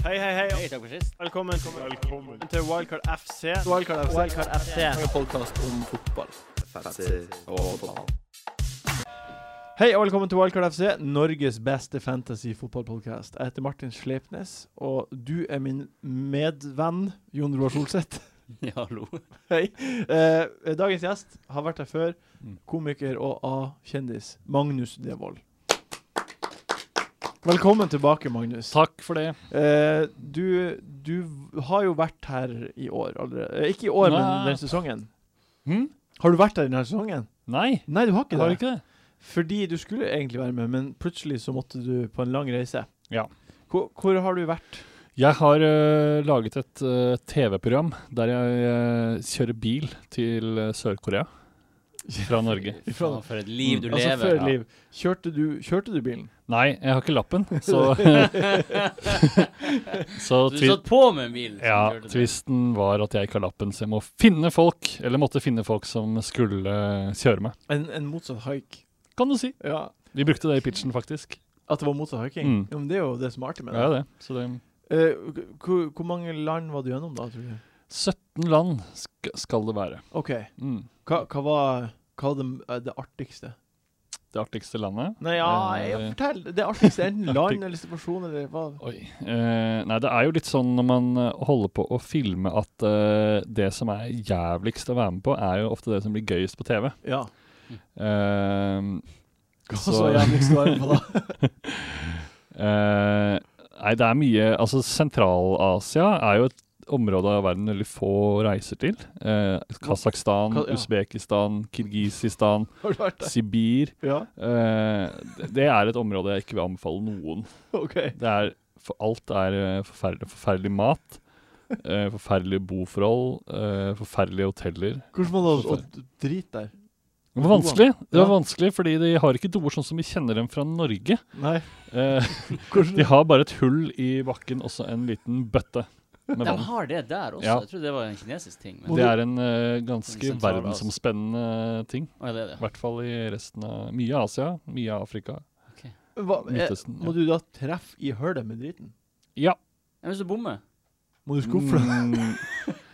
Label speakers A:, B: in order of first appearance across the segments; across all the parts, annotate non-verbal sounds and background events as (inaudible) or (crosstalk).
A: Hei, hei, hei.
B: Hei, takk for sist.
A: Velkommen, til Wildcard FC.
C: Wildcard FC.
A: Wildcard FC.
C: En podkast om fotball.
A: Hei og velkommen til Wildcard FC, Norges beste fantasy-fotballpodkast. Jeg heter Martin Sleipnes, og du er min medvenn Jon Roar Solseth. (laughs)
B: (laughs) Ja, hallo.
A: Hei. Eh, dagens gjest har vært her før.
B: Mm.
A: Komiker og A-kjendis Magnus Devold. Velkommen tilbake, Magnus.
D: Takk for det.
A: Eh, du, du v- har jo vært her i år allerede. Eh, Ikke i år, men
D: Nei.
A: denne sesongen.
D: Hm?
A: Har du vært her denne sesongen?
D: Nei,
A: Nei, du har ikke
D: jeg har
A: det.
D: ikke det.
A: Fordi du skulle egentlig være med, men plutselig så måtte du på en lang reise.
D: Ja.
A: Hvor, hvor har du vært?
D: Jeg har øh, laget et øh, TV-program der jeg øh, kjører bil til øh, Sør-Korea (laughs) fra Norge.
B: Fy faen, for et liv du
A: altså,
B: lever.
A: før liv. Kjørte du, kjørte du bilen?
D: Nei, jeg har ikke lappen, (laughs) så, så
B: (laughs) Du
D: tvi
B: satt på med en bil. som
D: ja,
B: kjørte det.
D: tvisten var at jeg ikke har lappen, så jeg må finne folk, eller måtte finne folk som skulle eh, kjøre meg.
A: En, en motsatt haik.
D: Kan du si.
A: Ja.
D: Vi brukte det i pitchen, faktisk.
A: At det var motsatt haiking?
D: Mm.
A: Ja, men det er jo det som er artig med
D: Ja,
A: det.
D: det. Så det
A: Eh, hvor- hvor, hvor mange land var du gjennom, da? tror du?
D: 17 land sk skal det være.
A: OK.
D: Mm.
A: Hva, hva var, hva var det, eh, det artigste?
D: Det artigste landet.
A: Nei, ja,
D: Eh,
A: jeg, fortell! Det artigste er (laughs) enten
D: Artig.
A: land eller situasjon eller hva
D: Oi. Eh, nei, det er jo litt sånn når man eh, holder på å filme at eh, det som er jævligst å være med på, er jo ofte det som blir gøyest på TV.
A: Ja.
D: Eh,
A: Hva
D: Så-
A: så jævligst var det på, da?
D: (laughs)
A: (laughs)
D: eh, nei, det er mye Altså, Sentral-Asia er jo et område av verden veldig få reiser til. Eh, Kasakhstan,
A: Ka- ja.
D: Usbekistan, Kirgisistan,
A: (laughs) Har du vært der?
D: Sibir.
A: Ja,
D: Eh, det- det er et område jeg ikke vil anbefale noen.
A: OK.
D: Det er, for alt er eh, forferdelig, forferdelig mat, eh, forferdelige boforhold, eh, forferdelige hoteller.
A: Hvordan var det å å drite der?
D: Det var vanskelig, det var
A: Ja.
D: vanskelig fordi de har ikke doer sånn som vi kjenner dem fra Norge.
A: Nei.
D: Eh,
A: Hvordan
D: de har bare et hull i bakken og så en liten bøtte med
B: De
D: vann.
B: har det der også.
D: Ja.
B: Jeg trodde det var en kinesisk ting. Men
D: Det er en eh, ganske
B: Sentral-
D: verdensomspennende ting.
B: Å, ja, det er
D: I
B: det.
D: hvert fall i resten av Mye av Asia, mye av Afrika,
A: hva, eh,
D: Midtøsten.
A: Må du da treffe i hølet med driten?
D: Ja.
B: Ja, Men hvis du bommer
A: Må du skuffe deg?
D: Mm,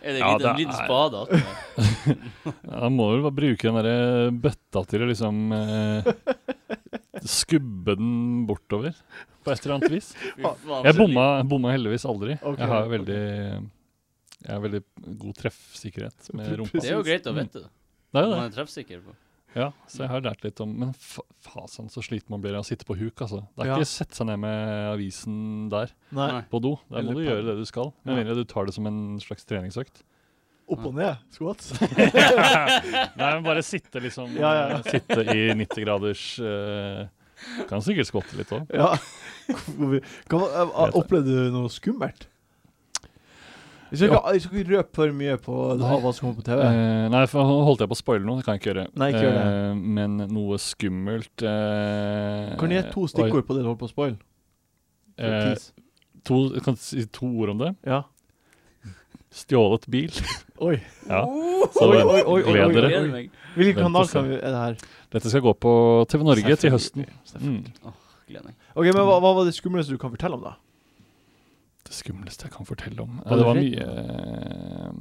B: Er det en
D: Ja,
B: liten,
D: det
B: liten
D: er-
B: spade attmed?
D: Ja, da må du bare bruke den derre bøtta til å liksom eh, skubbe den bortover på et eller annet vis.
B: Fy faen,
D: Jeg
B: så
D: bomma, bomma heldigvis aldri.
A: Ok,
D: jeg har
A: ok.
D: veldig Jeg har veldig god treffsikkerhet med
B: liten.
D: rumpa.
B: Det er jo greit å vite. da.
D: Det er jo
B: Man
D: det.
B: er treffsikker på.
D: Ja, så jeg har lært litt om Men fa fasan, så sliten man blir av å sitte på huk, altså. Det er
A: Ja.
D: ikke å sette seg ned med avisen der,
A: Nei.
B: Nei.
D: på do. Der
A: Eller
D: må du
A: padel.
D: gjøre det du skal. Med
A: Ja.
D: mindre du tar det som en slags treningsøkt.
A: Opp og ned? Squats?
D: Nei, men bare sitte liksom
A: Ja, ja, ja.
D: Sitte i 90 graders eh, Kan sikkert skvatte litt òg.
A: (laughs) (laughs) Ja. Hvorfor- Hva, var- eh, opplevde du noe skummelt? Vi skal ikke, vi skal ikke røpe for mye på
D: Nei.
A: hva som kommer på TV.
D: Eh, nei, for nå holdt jeg på å spoile noe. Det kan jeg ikke gjøre.
A: Nei, ikke gjør det.
D: Eh, men noe skummelt eh,
A: Kan du gi to stikkord på det du holder på å spoile?
D: oi, eh, to, jeg kan si to ord om det.
A: Ja.
D: Stjålet bil.
A: Oi.
D: Ja.
B: Oh,
D: Så
A: Oi, oi, oi, oi,
D: gled
A: oi.
D: dere.
B: gleder meg.
A: Hvilken
D: Vent
A: kanal
D: og se.
A: kan vi, er det her?
D: Dette skal gå på TV Norge til høsten.
A: Selvfølgelig,
D: Mm.
A: selvfølgelig.
B: Gleder meg.
A: Ok, men hva, hva var det skumleste du kan fortelle om, da?
D: Det skumleste jeg kan fortelle om
B: Var
D: ja, Det var
B: du
D: mye eh,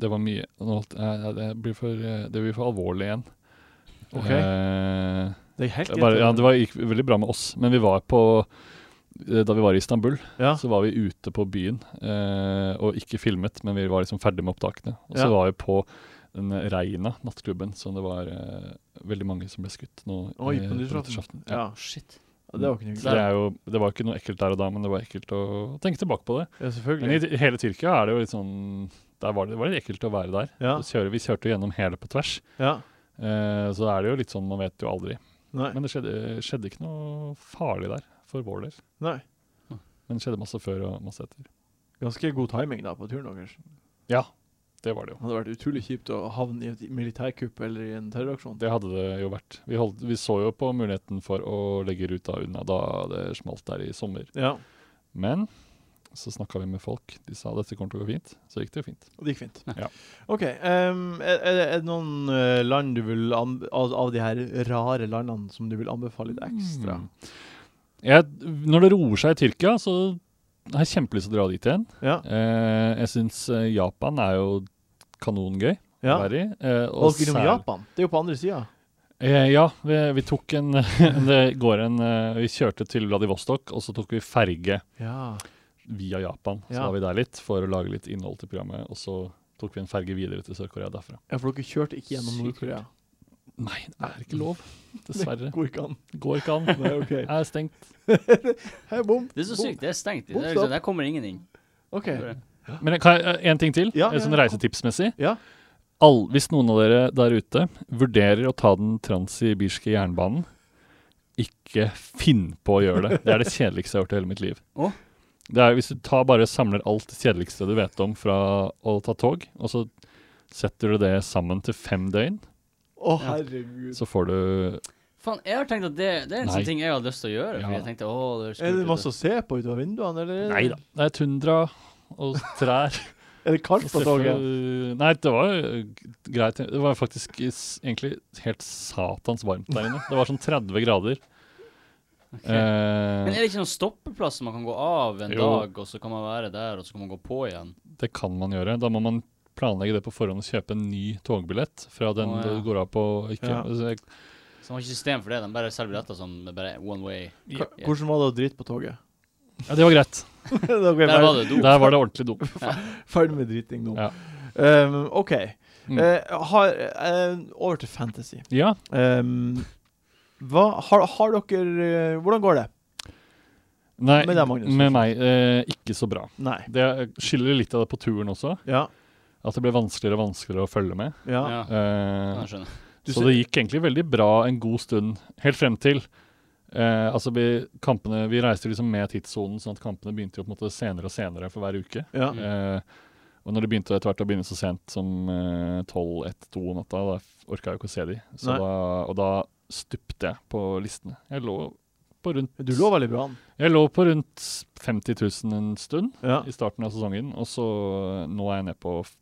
D: Det var mye nå holdt- eh, ja, Det blir for, eh, det blir for alvorlig igjen.
A: Ok.
D: Eh,
A: Det er helt
D: det, bare,
A: greit.
D: ja, det var, gikk veldig bra med oss, men vi var på eh, Da vi var i Istanbul,
A: Ja.
D: så var vi ute på byen eh, og ikke filmet, men vi var liksom ferdig med opptakene. Og
A: Ja.
D: så var vi på den Reina, nattklubben, som det var eh, veldig mange som ble skutt nå.
A: Oi,
D: eh,
A: på nyttårsaften.
D: nyttårsaften.
A: Ja.
D: Ja.
B: Shit.
A: Ja, Det var ikke noe
D: Så det,
A: greit.
D: er jo, det var ikke noe ekkelt der og da, men det var ekkelt å tenke tilbake på det.
A: Ja,
D: Men i
A: selvfølgelig.
D: t- hele Tyrkia er det jo litt sånn der var det, det var litt ekkelt å være der.
A: Ja.
D: Så Kjører, vi kjørte jo gjennom hele på tvers.
A: ja.
D: Eh, så er det jo litt sånn, man vet jo aldri.
A: Nei.
D: Men det skjedde, skjedde ikke noe farlig der, for vår del.
A: Nei.
D: Men det skjedde masse før og masse etter.
A: Ganske god timing da på turen deres.
D: Ja, det var det
A: Det
D: jo.
A: hadde vært utrolig kjipt å havne i et militærkupp eller i en terroraksjon.
D: Det hadde det jo vært. Vi, holdt, vi så jo på muligheten for å legge ruta unna da det smalt der i sommer.
A: Ja,
D: Men så snakka vi med folk. De sa dette kommer til å gå fint. Så gikk det jo fint.
A: og det gikk fint.
D: Ja.
A: OK. ehm, er, er det- er det noen eh, land du vil anbe av, av de her rare landene
D: Hmm.
A: som du vil anbefale litt ekstra?
D: Mm. Jeg, når det roer seg i Tyrkia, så har kjempelyst til å dra dit igjen.
A: Ja.
D: Eh, jeg syns Japan er jo kanongøy å
A: ja.
D: være i. eh, og
A: Folk innom
D: særlig-
A: Japan. Det er jo på andre sida.
D: Eh, ja, vi, vi tok en (laughs) Det går en eh, Vi kjørte til Vladivostok, og så tok vi ferge
A: Ja.
D: via Japan. Så
A: Ja.
D: var vi der litt for å lage litt innhold til programmet, og så tok vi en ferge videre til Sør-Korea derfra.
A: ja, for dere kjørte ikke gjennom
B: Sykt
A: Nord-Korea.
D: Nei, det er ikke lov.
A: (laughs)
D: Dessverre.
A: Går ikke an.
D: Går ikke an.
A: Nei, OK.
D: Er stengt.
A: Hei, bom.
B: Det er så
A: Bom.
B: sykt. Det er stengt. Det
A: Bom,
B: er
A: stopp.
B: liksom, der kommer ingen inn.
A: OK.
B: Bare-
D: Men kan jeg, eh, en ting til,
A: Ja,
D: eh, sånn
A: ja, ja.
D: reisetipsmessig.
A: Ja.
D: All, hvis noen av dere der ute vurderer å ta den transsibirske jernbanen, ikke finn på å gjøre det. Det (laughs) er det kjedeligste jeg har gjort i hele mitt liv.
B: Å?
D: Det er, hvis du tar, bare samler alt det kjedeligste du vet om fra å ta tog, og så setter du det sammen til fem døgn,
A: Å, herregud.
D: så får du
B: Faen, jeg har tenkt at det, det er en
D: Nei.
B: sånn ting jeg hadde lyst til å gjøre.
D: Ja.
B: Fordi jeg tenkte, åh, det
A: Er det
B: skummelt
A: masse å se på ut av vinduene, eller?
D: Nei da. Det er tundra og trær.
A: Er det kaldt på toget?
D: Nei, det var jo greit. Det var faktisk s- egentlig helt satans varmt der inne. Det var sånn 30 grader.
B: Ok. Men
D: Eh,
B: er det ikke noen stoppeplass som man kan gå av en
D: Jo.
B: dag, og så kan man være der, og så kan man gå på igjen?
D: det kan man gjøre. Da må man planlegge det på forhånd og kjøpe en ny togbillett fra den
B: Å, ja.
D: du går av på ikke.
A: Ja.
D: Altså, jeg-
B: Så man har ikke system for det. De bare selger billetter som er bare one way.
A: Ka- Hvordan var det å drite på (laughs) toget?
D: Ja, det var greit.
A: Der
B: Der var det do.
D: Der var det ordentlig dumt.
A: Ferdig med driting nå.
D: Ja.
A: Um, OK.
D: Mm.
A: Eh, har, eh, over til fantasy.
D: Ja,
A: Um, hva, har, har dere eh, Hvordan går det?
D: nei,
A: Med deg, Magnus.
D: med meg eh, ikke så bra.
A: Nei.
D: Det skylder litt av det på turen også,
A: Ja.
D: at det ble vanskeligere og vanskeligere å følge med.
A: Ja.
B: Ja.
D: Eh,
B: Ja, jeg skjønner.
A: Du
D: så
A: ser-
D: det gikk egentlig veldig bra en god stund, helt frem til. Eh, altså vi, kampene, vi reiste liksom med tidssonen, sånn at kampene begynte jo på en måte senere og senere for hver uke.
A: ja.
B: Mm.
D: Eh, og når det begynte etter hvert å begynne så sent som eh, 12-1-2 om natta, da f- orka jeg jo ikke å se de. Så
A: Nei.
D: da, og da stupte jeg på listene. Jeg lå på rundt,
A: Du lå veldig bra an.
D: jeg lå på rundt 50 000 en stund
A: Ja.
D: i starten av sesongen, og så eh, nå er jeg nede på f-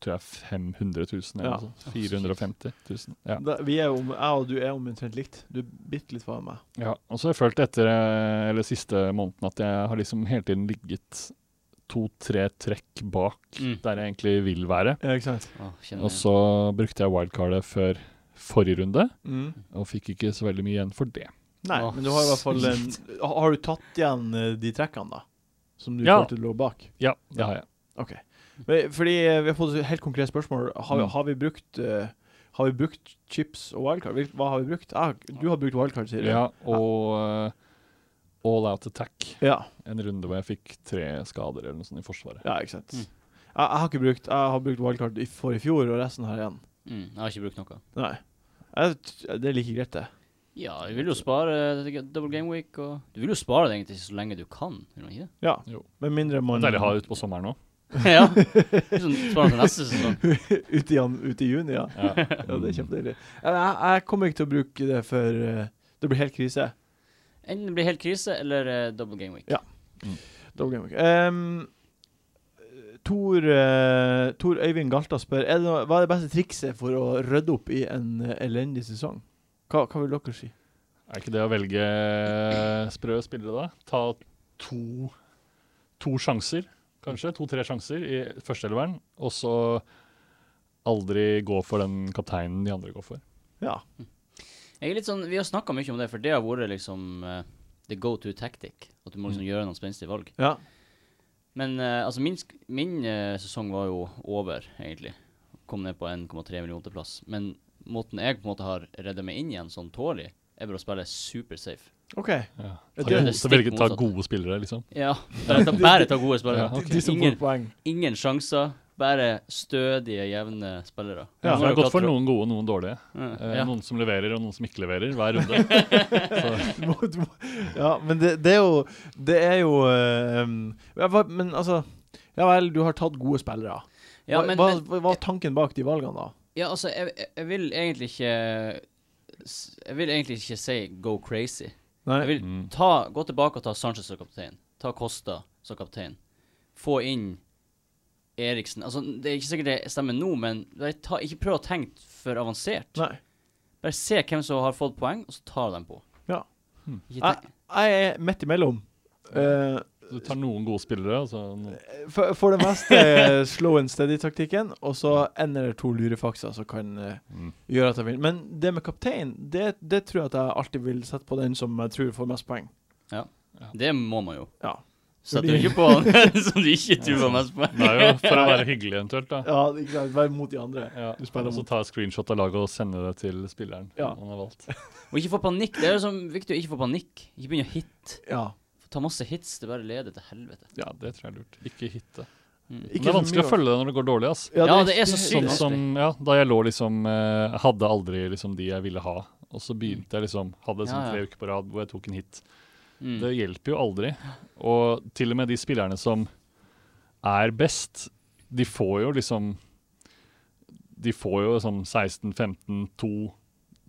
D: tror jeg 500 000 eller
A: Ja. altså,
D: noe sånt. 450 000. Ja.
A: Da, vi er om, jeg og du er omtrent likt. Du er bitte litt foran meg.
D: Ja, og så har jeg følt etter eh, eller siste måneden at jeg har liksom hele tiden ligget to-tre trekk bak
B: Mm.
D: der jeg egentlig vil være.
A: Ja, ikke sant?
B: Åh, kjenner
D: Og
B: jeg.
D: så brukte jeg wildcardet før forrige runde,
A: Mm.
D: og fikk ikke så veldig mye igjen for det.
A: Nei,
B: Åh,
A: men du har i hvert fall en, Har du tatt igjen eh, de trekkene, da? Som du
D: Ja.
A: følte du lå bak?
D: Ja, det har jeg.
A: OK. Men, fordi eh, vi har fått et helt konkret spørsmål. Har, vi-
D: Mm.
A: har vi brukt eh, har vi brukt chips og wildcard? Hvil- Hva har vi brukt? Ah, du har brukt wildcard, sier du?
D: Ja, og eh, All Out Attack,
A: ja.
D: en runde hvor jeg fikk tre skader eller noe sånt i Forsvaret.
A: Ja, ikke sant.
B: Mm.
A: Jeg, jeg har ikke brukt Jeg har brukt wildcard i- for i fjor, og resten har jeg igjen.
B: Mm, jeg har ikke brukt noe.
A: Nei. Jeg, t- det er like greit, det.
B: Ja, du vil jo spare eh, double game week, og Du vil jo spare det egentlig så lenge du kan, vil du ikke det?
A: Ja.
D: Jo.
A: Med mindre man
D: Det er
A: (laughs)
D: deilig å ha utpå sommeren òg.
B: (laughs) ja. Sånn, spare til neste sesong.
A: ute, i, jan- ute i juni, ja.
D: (laughs) Ja.
A: ja
B: Mm.
A: det er kjempedeilig. Jeg, jeg, jeg kommer ikke til å bruke det før eh, det blir helt krise.
B: Enten det blir helt krise, eller eh, double game week.
A: Ja. Da blir det ikke. Ehm, Tor, eh, Tor Øyvind Galta spør er det noe, hva er det beste trikset for å rydde opp i en eh, elendig sesong. Hva, hva vil dere si?
D: Er ikke det å velge sprø spillere, da? Ta to, to sjanser, kanskje. To-tre sjanser i førsteelveren. Og så aldri gå for den kapteinen de andre går for.
A: Ja.
B: Jeg er litt sånn, Vi har snakka mye om det, for det har vært liksom eh, the go to tactic. At du må liksom gjøre noen spenstige valg.
A: ja.
B: Men eh, altså, min, sk- min eh, sesong var jo over, egentlig. Kom ned på 1,3 millioner til plass. Men måten jeg på en måte har redda meg inn igjen sånn tålelig, er bare å spille super safe.
A: OK.
D: Ja.
A: Ja, det
D: Ta,
A: er
D: gode,
B: det
D: så velge, ta
B: stikk motsatte.
D: gode spillere, liksom.
B: Ja. Bare ta, bare ta gode
D: Ja,
B: spillere.
A: De, de som får
B: ingen,
A: poeng. (laughs)
B: ingen sjanser. Bare stødige, jevne spillere.
A: Ja,
B: Nå
D: Ja, det
B: har
D: er
B: du
D: godt for
B: klatra-
D: noen gode og noen dårlige. Eh,
B: Ja.
D: Noen som leverer og noen som ikke leverer hver runde.
A: Du må, du må, ja, men det, det er jo Det er jo ehm, ja, hva- Men altså Ja vel, du har tatt gode spillere.
B: Ja,
A: hva,
B: men,
A: hva,
B: men
A: hva var tanken bak de valgene, da?
B: Ja, altså, jeg, jeg- jeg vil egentlig ikke s- Jeg vil egentlig ikke si go crazy. Jeg
A: Nei.
B: vil
D: Mm.
B: ta, gå tilbake og ta Sanchez som kaptein. Ta Costa som kaptein. Få inn Eriksen. Altså, det er ikke sikkert det stemmer nå, men bare ta, ikke prøv å tenke for avansert.
A: Nei.
B: Bare se hvem som har fått poeng, og så tar du dem på.
A: Ja.
D: Hmm.
B: Ikke
A: Ah.
B: tenk,
A: Jeg er midt imellom. Eh,
D: Du tar noen gode spillere, og så noen
A: For, for det meste slow and steady-taktikken, og så en eller to lurefakser som kan eh,
D: Mm.
A: gjøre at jeg vil. Men det med kaptein, det, det tror jeg at jeg alltid vil sette på den som jeg tror får mest poeng.
B: Det må man jo.
A: Ja.
B: Setter du
A: Fordi-
B: ikke
A: (laughs)
B: på han (laughs) som du ikke tror var mest på?
D: Det er jo for å være hyggelig, eventuelt. da.
A: Ja, ikke sant. Være mot de andre.
D: Ja.
A: Du spiller
D: Og så
A: mot-
D: ta et screenshot av laget og sende det til spilleren
A: Ja.
D: man har valgt.
B: Og ikke få panikk. Det er jo sånn viktig å ikke få panikk. Ikke begynne å hit.
A: Ja.
B: Ta masse hits, det bare leder til helvete.
D: Ja, det tror jeg er lurt. Ikke hitte.
B: Mm.
A: Ikke
D: Men det er
A: så
D: vanskelig
A: mye,
D: å følge det når det går dårlig. ass.
B: Ja, det er så
D: Sånn
B: sykt.
D: som, ja, Da jeg lå liksom eh, Hadde aldri liksom de jeg ville ha. Og så begynte jeg liksom Hadde sånn
B: Ja, ja.
D: tre uker på rad hvor jeg tok en hit.
B: Mm.
D: Det hjelper jo aldri. Og til og med de spillerne som er best, de får jo liksom De får jo sånn 16, 15, 2,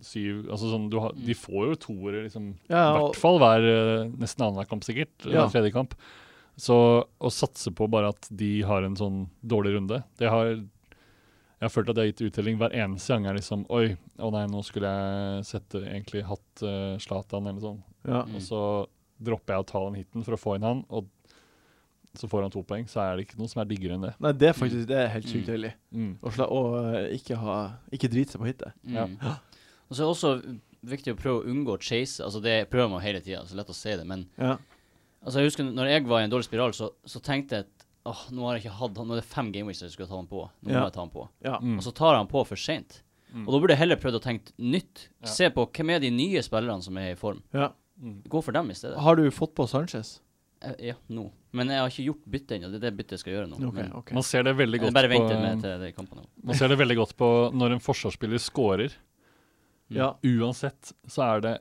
D: 7 altså sånn, du
B: Mm.
D: har, De får jo toere, liksom.
A: Ja,
D: I
A: og,
D: hvert fall hver, eh, nesten annenhver kamp, sikkert. eller
A: Ja.
D: tredje kamp. Så å satse på bare at de har en sånn dårlig runde det har, Jeg har følt at jeg har gitt uttelling hver eneste gang. Jeg liksom, Oi, å nei, nå skulle jeg sette egentlig hatt eh, Zlatan eller noe sånt.
A: ja.
B: Mm.
D: Og så dropper jeg å ta den hiten for å få inn han, og så får han to poeng. Så er det ikke noe som er diggere enn det.
A: Nei, det er faktisk det er helt sykt
B: Mm.
A: deilig. Å sla- å, eh, ikke, ha- ikke drite seg på hitet.
B: Mm. Og så er det også viktig å prøve å unngå å chase. Altså Det prøver man hele tida, så lett å si det. Men
A: Ja.
B: altså jeg husker når jeg var i en dårlig spiral, så, så tenkte jeg at åh, nå har jeg ikke hatt han, nå er det fem gameweeks jeg skulle ta han på. Nå
A: Ja.
B: må jeg ta han på.
A: ja.
D: Mm.
B: Og så tar jeg han på for seint.
D: Mm.
B: altså, Og da burde jeg heller prøvd å tenke nytt.
D: Ja.
B: Se på hvem er de nye spillerne som er i form.
A: ja.
D: Mm.
B: Gå for dem i stedet.
A: Har du fått på Sanchez?
B: Eh, Ja, nå. Men jeg har ikke gjort byttet ennå. Det er det byttet jeg skal gjøre nå.
A: Ok,
B: Men
A: ok.
D: Man ser det veldig
B: jeg
D: godt
B: bare
D: på, um,
B: venter med til de kampene.
D: man ser det veldig godt på når en forsvarsspiller scorer.
B: Mm.
A: Ja.
D: Uansett så er det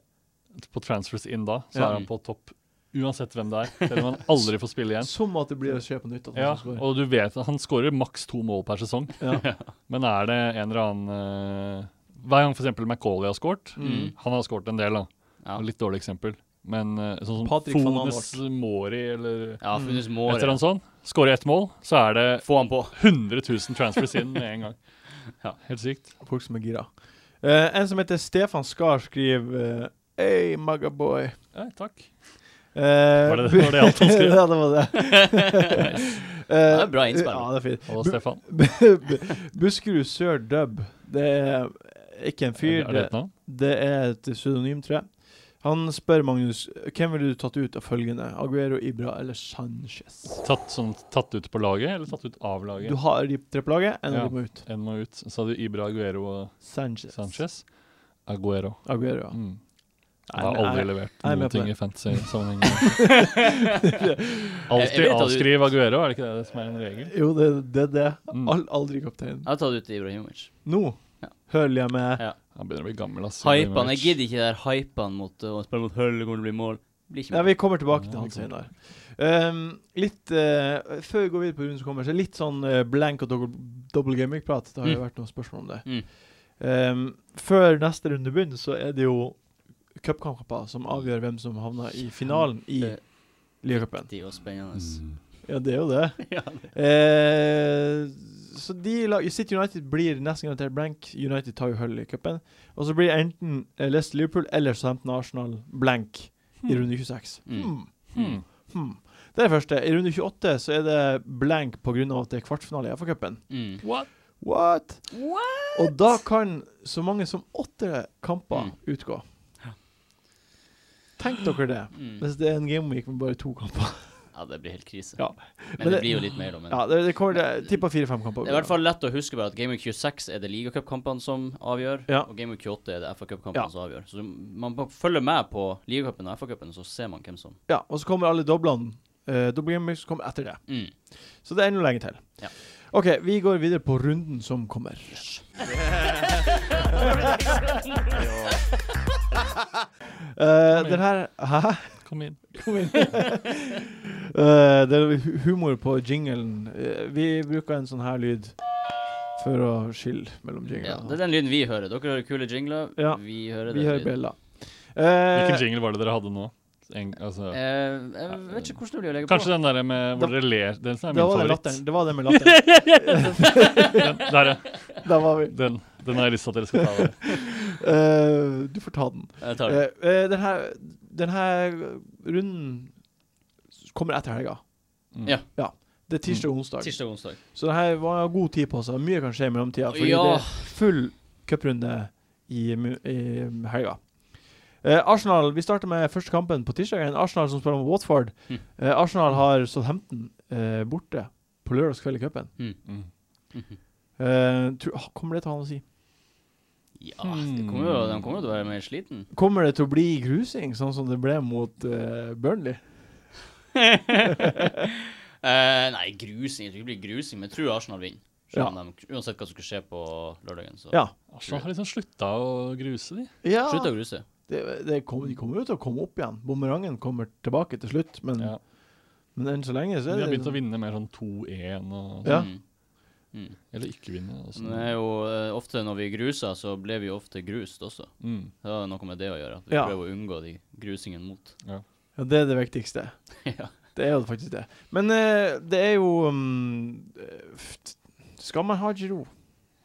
D: på transfers inn da, så
A: Ja.
D: er han på topp. Uansett hvem det er, selv om han aldri får spille igjen.
A: Som at det blir å skje på nytt. at han
D: Ja,
A: skal score.
D: og du vet at Han skårer maks to mål per sesong,
A: Ja.
D: men er det en eller annen eh, Hver gang f.eks. McCauley har scoret
A: Mm.
D: Han har skåret en del, da.
B: Ja.
D: Litt dårlig eksempel. Men eh, sånn som
A: Patrick van
D: Fones Mori eller
B: ja, Funnes må
D: et eller annet sånn, skårer ett mål, så er det
B: (laughs) få han
D: (laughs)
B: på.
D: 100 000 transfers inn med en gang. Ja, Helt sykt.
A: (laughs) Folk som er gira. Eh, en som heter Stefan Skar, skriver eh, Hey, Magaboy.
D: Ja, takk.
A: Eh,
D: Var det- var det alt han skrev?
A: (laughs) ja, det var det. Eh,
B: Det er bra innspill.
A: Ja, det er fint. (laughs)
D: Halla, Stefan.
A: Bu- Buskerud Sør Dub. Det er ikke en fyr.
D: er det
A: Det,
D: et navn?
A: det er et pseudonym, tror jeg. Han spør Magnus hvem ville du tatt ut av følgende? Aguero, Ibra eller Sanchez?
D: Tatt, sånn, tatt ut på laget, eller tatt ut av laget?
A: Du har de tre på laget, en av
D: Ja.
A: de må ut.
D: En må ut. Så hadde du Ibra Aguero og
A: Sanchez.
D: Sanchez. Aguero.
A: Aguero. ja.
D: Mm.
A: Nei,
D: Jeg har
A: men
D: aldri
A: jeg-
D: levert
A: jeg er med
D: noen
A: på
D: ting
A: det.
D: i
A: (laughs)
D: fantasy-sammenheng.
B: Jeg- jeg
D: Alltid
B: vet at du-
D: avskriv Aguero, er det ikke det som er en regel?
A: Jo, det er det, det.
D: Mm.
A: Al aldri kaptein.
B: Jeg har tatt ut Ibrahimovic.
A: Nå
B: Ja.
A: hører jeg med.
D: Han begynner å bli gammel, ass.
B: Hypene. Jeg gidder ikke det der hypene mot uh, å spille mot Hull, kommer det bli mål. Blir ikke
A: Nei,
B: mål.
A: vi kommer tilbake til
D: Ja,
A: han
D: vi kommer
A: senere. Um, litt eh, Før vi går videre på runden som kommer, så litt sånn eh, blank og double, double gaming-prat. Det har jo
B: Mm.
A: vært noen spørsmål om det.
B: Mm.
A: Um, før neste runde begynner, så er det jo cupkamper som avgjør hvem som havner i finalen i
B: Det-
A: ligacupen.
B: Det er jo spennende.
D: Mm.
A: Ja, det er jo det.
B: (laughs) Ja, det-
A: Eh, så de lag, City United blir nesten garantert blank. United tar jo hull i cupen. Og så blir enten eh, Leicester Liverpool eller Southampton Arsenal blank i runde 26.
B: Mm.
A: Hmm.
D: Mm.
A: Hmm. Det er det første. I runde 28 så er det blank pga. at det er kvartfinale i FA-cupen.
B: Mm.
D: What?
A: What? Og da kan så mange som åtte kamper
B: Mm.
A: utgå. Tenk dere det.
B: Mm.
A: Hvis det er en gameweek med bare to kamper.
B: Ja, det blir helt krise.
A: Ja.
B: Men,
A: Men
B: det,
A: det-
B: blir jo litt mer, da. Men
A: Ja, det, det kommer til tippa fire-fem kamper.
B: det er i hvert fall lett å huske bare at Game Week 26 er det ligacupkampene som avgjør,
A: Ja.
B: og Game Week 28 er det FA-cupkampene
A: Ja.
B: som avgjør. Så man bare følger med på ligacupen og FA-cupen, så ser man hvem som
A: Ja, og så kommer alle doblene. Uh, Double gameweeks kommer etter det.
B: mm.
A: Så det er enda lenge til.
B: Ja.
A: OK, vi går videre på runden som kommer. (laughs) uh, den her Hæ?
D: Kom inn.
A: Kom
D: (laughs)
A: inn. Eh, det er hu- humor på jinglen. Eh, vi bruker en sånn her lyd for å skille mellom
B: Ja,
A: jinglene.
B: det er den lyden vi hører. Dere hører kule jingler.
A: Ja.
B: Vi hører
A: vi
B: den
A: hører
B: lyden.
A: bjeller.
D: Hvilken
A: Eh,
D: jingle var det dere hadde nå? En, altså,
B: Eh, jeg vet ikke hvordan det blir å legge
D: kanskje den der med hvor
A: Da-
D: dere ler. Den som er
A: det
D: min
A: var den
D: favoritt.
A: latteren. Det var det med latteren.
B: (laughs)
D: (laughs) Den, der, ja.
A: Der var vi.
D: den, den har jeg lyst til at dere skal ta. over.
A: Eh, du får ta Eh, den.
B: på. Jeg tar den.
A: Eh, eh, den her, den her runden kommer etter helga.
D: Mm.
B: Ja.
A: Det er tirsdag og onsdag.
B: Mm. Tirsdag og onsdag.
A: Så det her var god tid på seg. Mye kan skje i mellomtida. Fordi
B: Ja.
A: det er full cuprunde i, mu- i helga. Eh, Arsenal, Vi starter med første kampen på tirsdag. En Arsenal som spiller mot Watford.
B: Hm.
A: Eh, Arsenal har Southampton eh, borte på lørdagskveld i cupen.
D: Mm.
A: Eh, tro- ah, kommer det til å ha noe å si?
B: Ja, det kommer jo, de kommer jo til å være mer sliten.
A: Kommer det til å bli grusing, sånn som det ble mot eh, Burnley?
B: (laughs) Eh, nei, grusing. Jeg tror ikke det blir grusing, men jeg tror Arsenal vinner. Selv om de, uansett hva som skulle skje på lørdagen. Så.
A: Ja.
D: Arsenal har liksom slutta å gruse, de.
A: ja.
B: Slutt å gruse.
A: Det, det kom, de kommer jo til å komme opp igjen. Bumerangen kommer tilbake til slutt, men,
D: Ja.
A: men enn så lenge så
D: De
A: er
D: har
A: det
D: begynt å vinne mer sånn 2-1 og sånn,
A: Ja.
B: Mm. Mm.
D: Eller ikke vinne. Og sånn.
B: Men det er jo eh, ofte når vi gruser, så ble vi ofte grust også.
D: Mm.
B: Det har noe med det å gjøre. At vi
A: Ja.
B: prøver å unngå de grusingene mot.
A: Ja, det er det
D: (laughs)
A: viktigste.
B: ja.
A: Det er jo faktisk det. Men eh, det er jo mm, eh, f- Skal man ha Giro?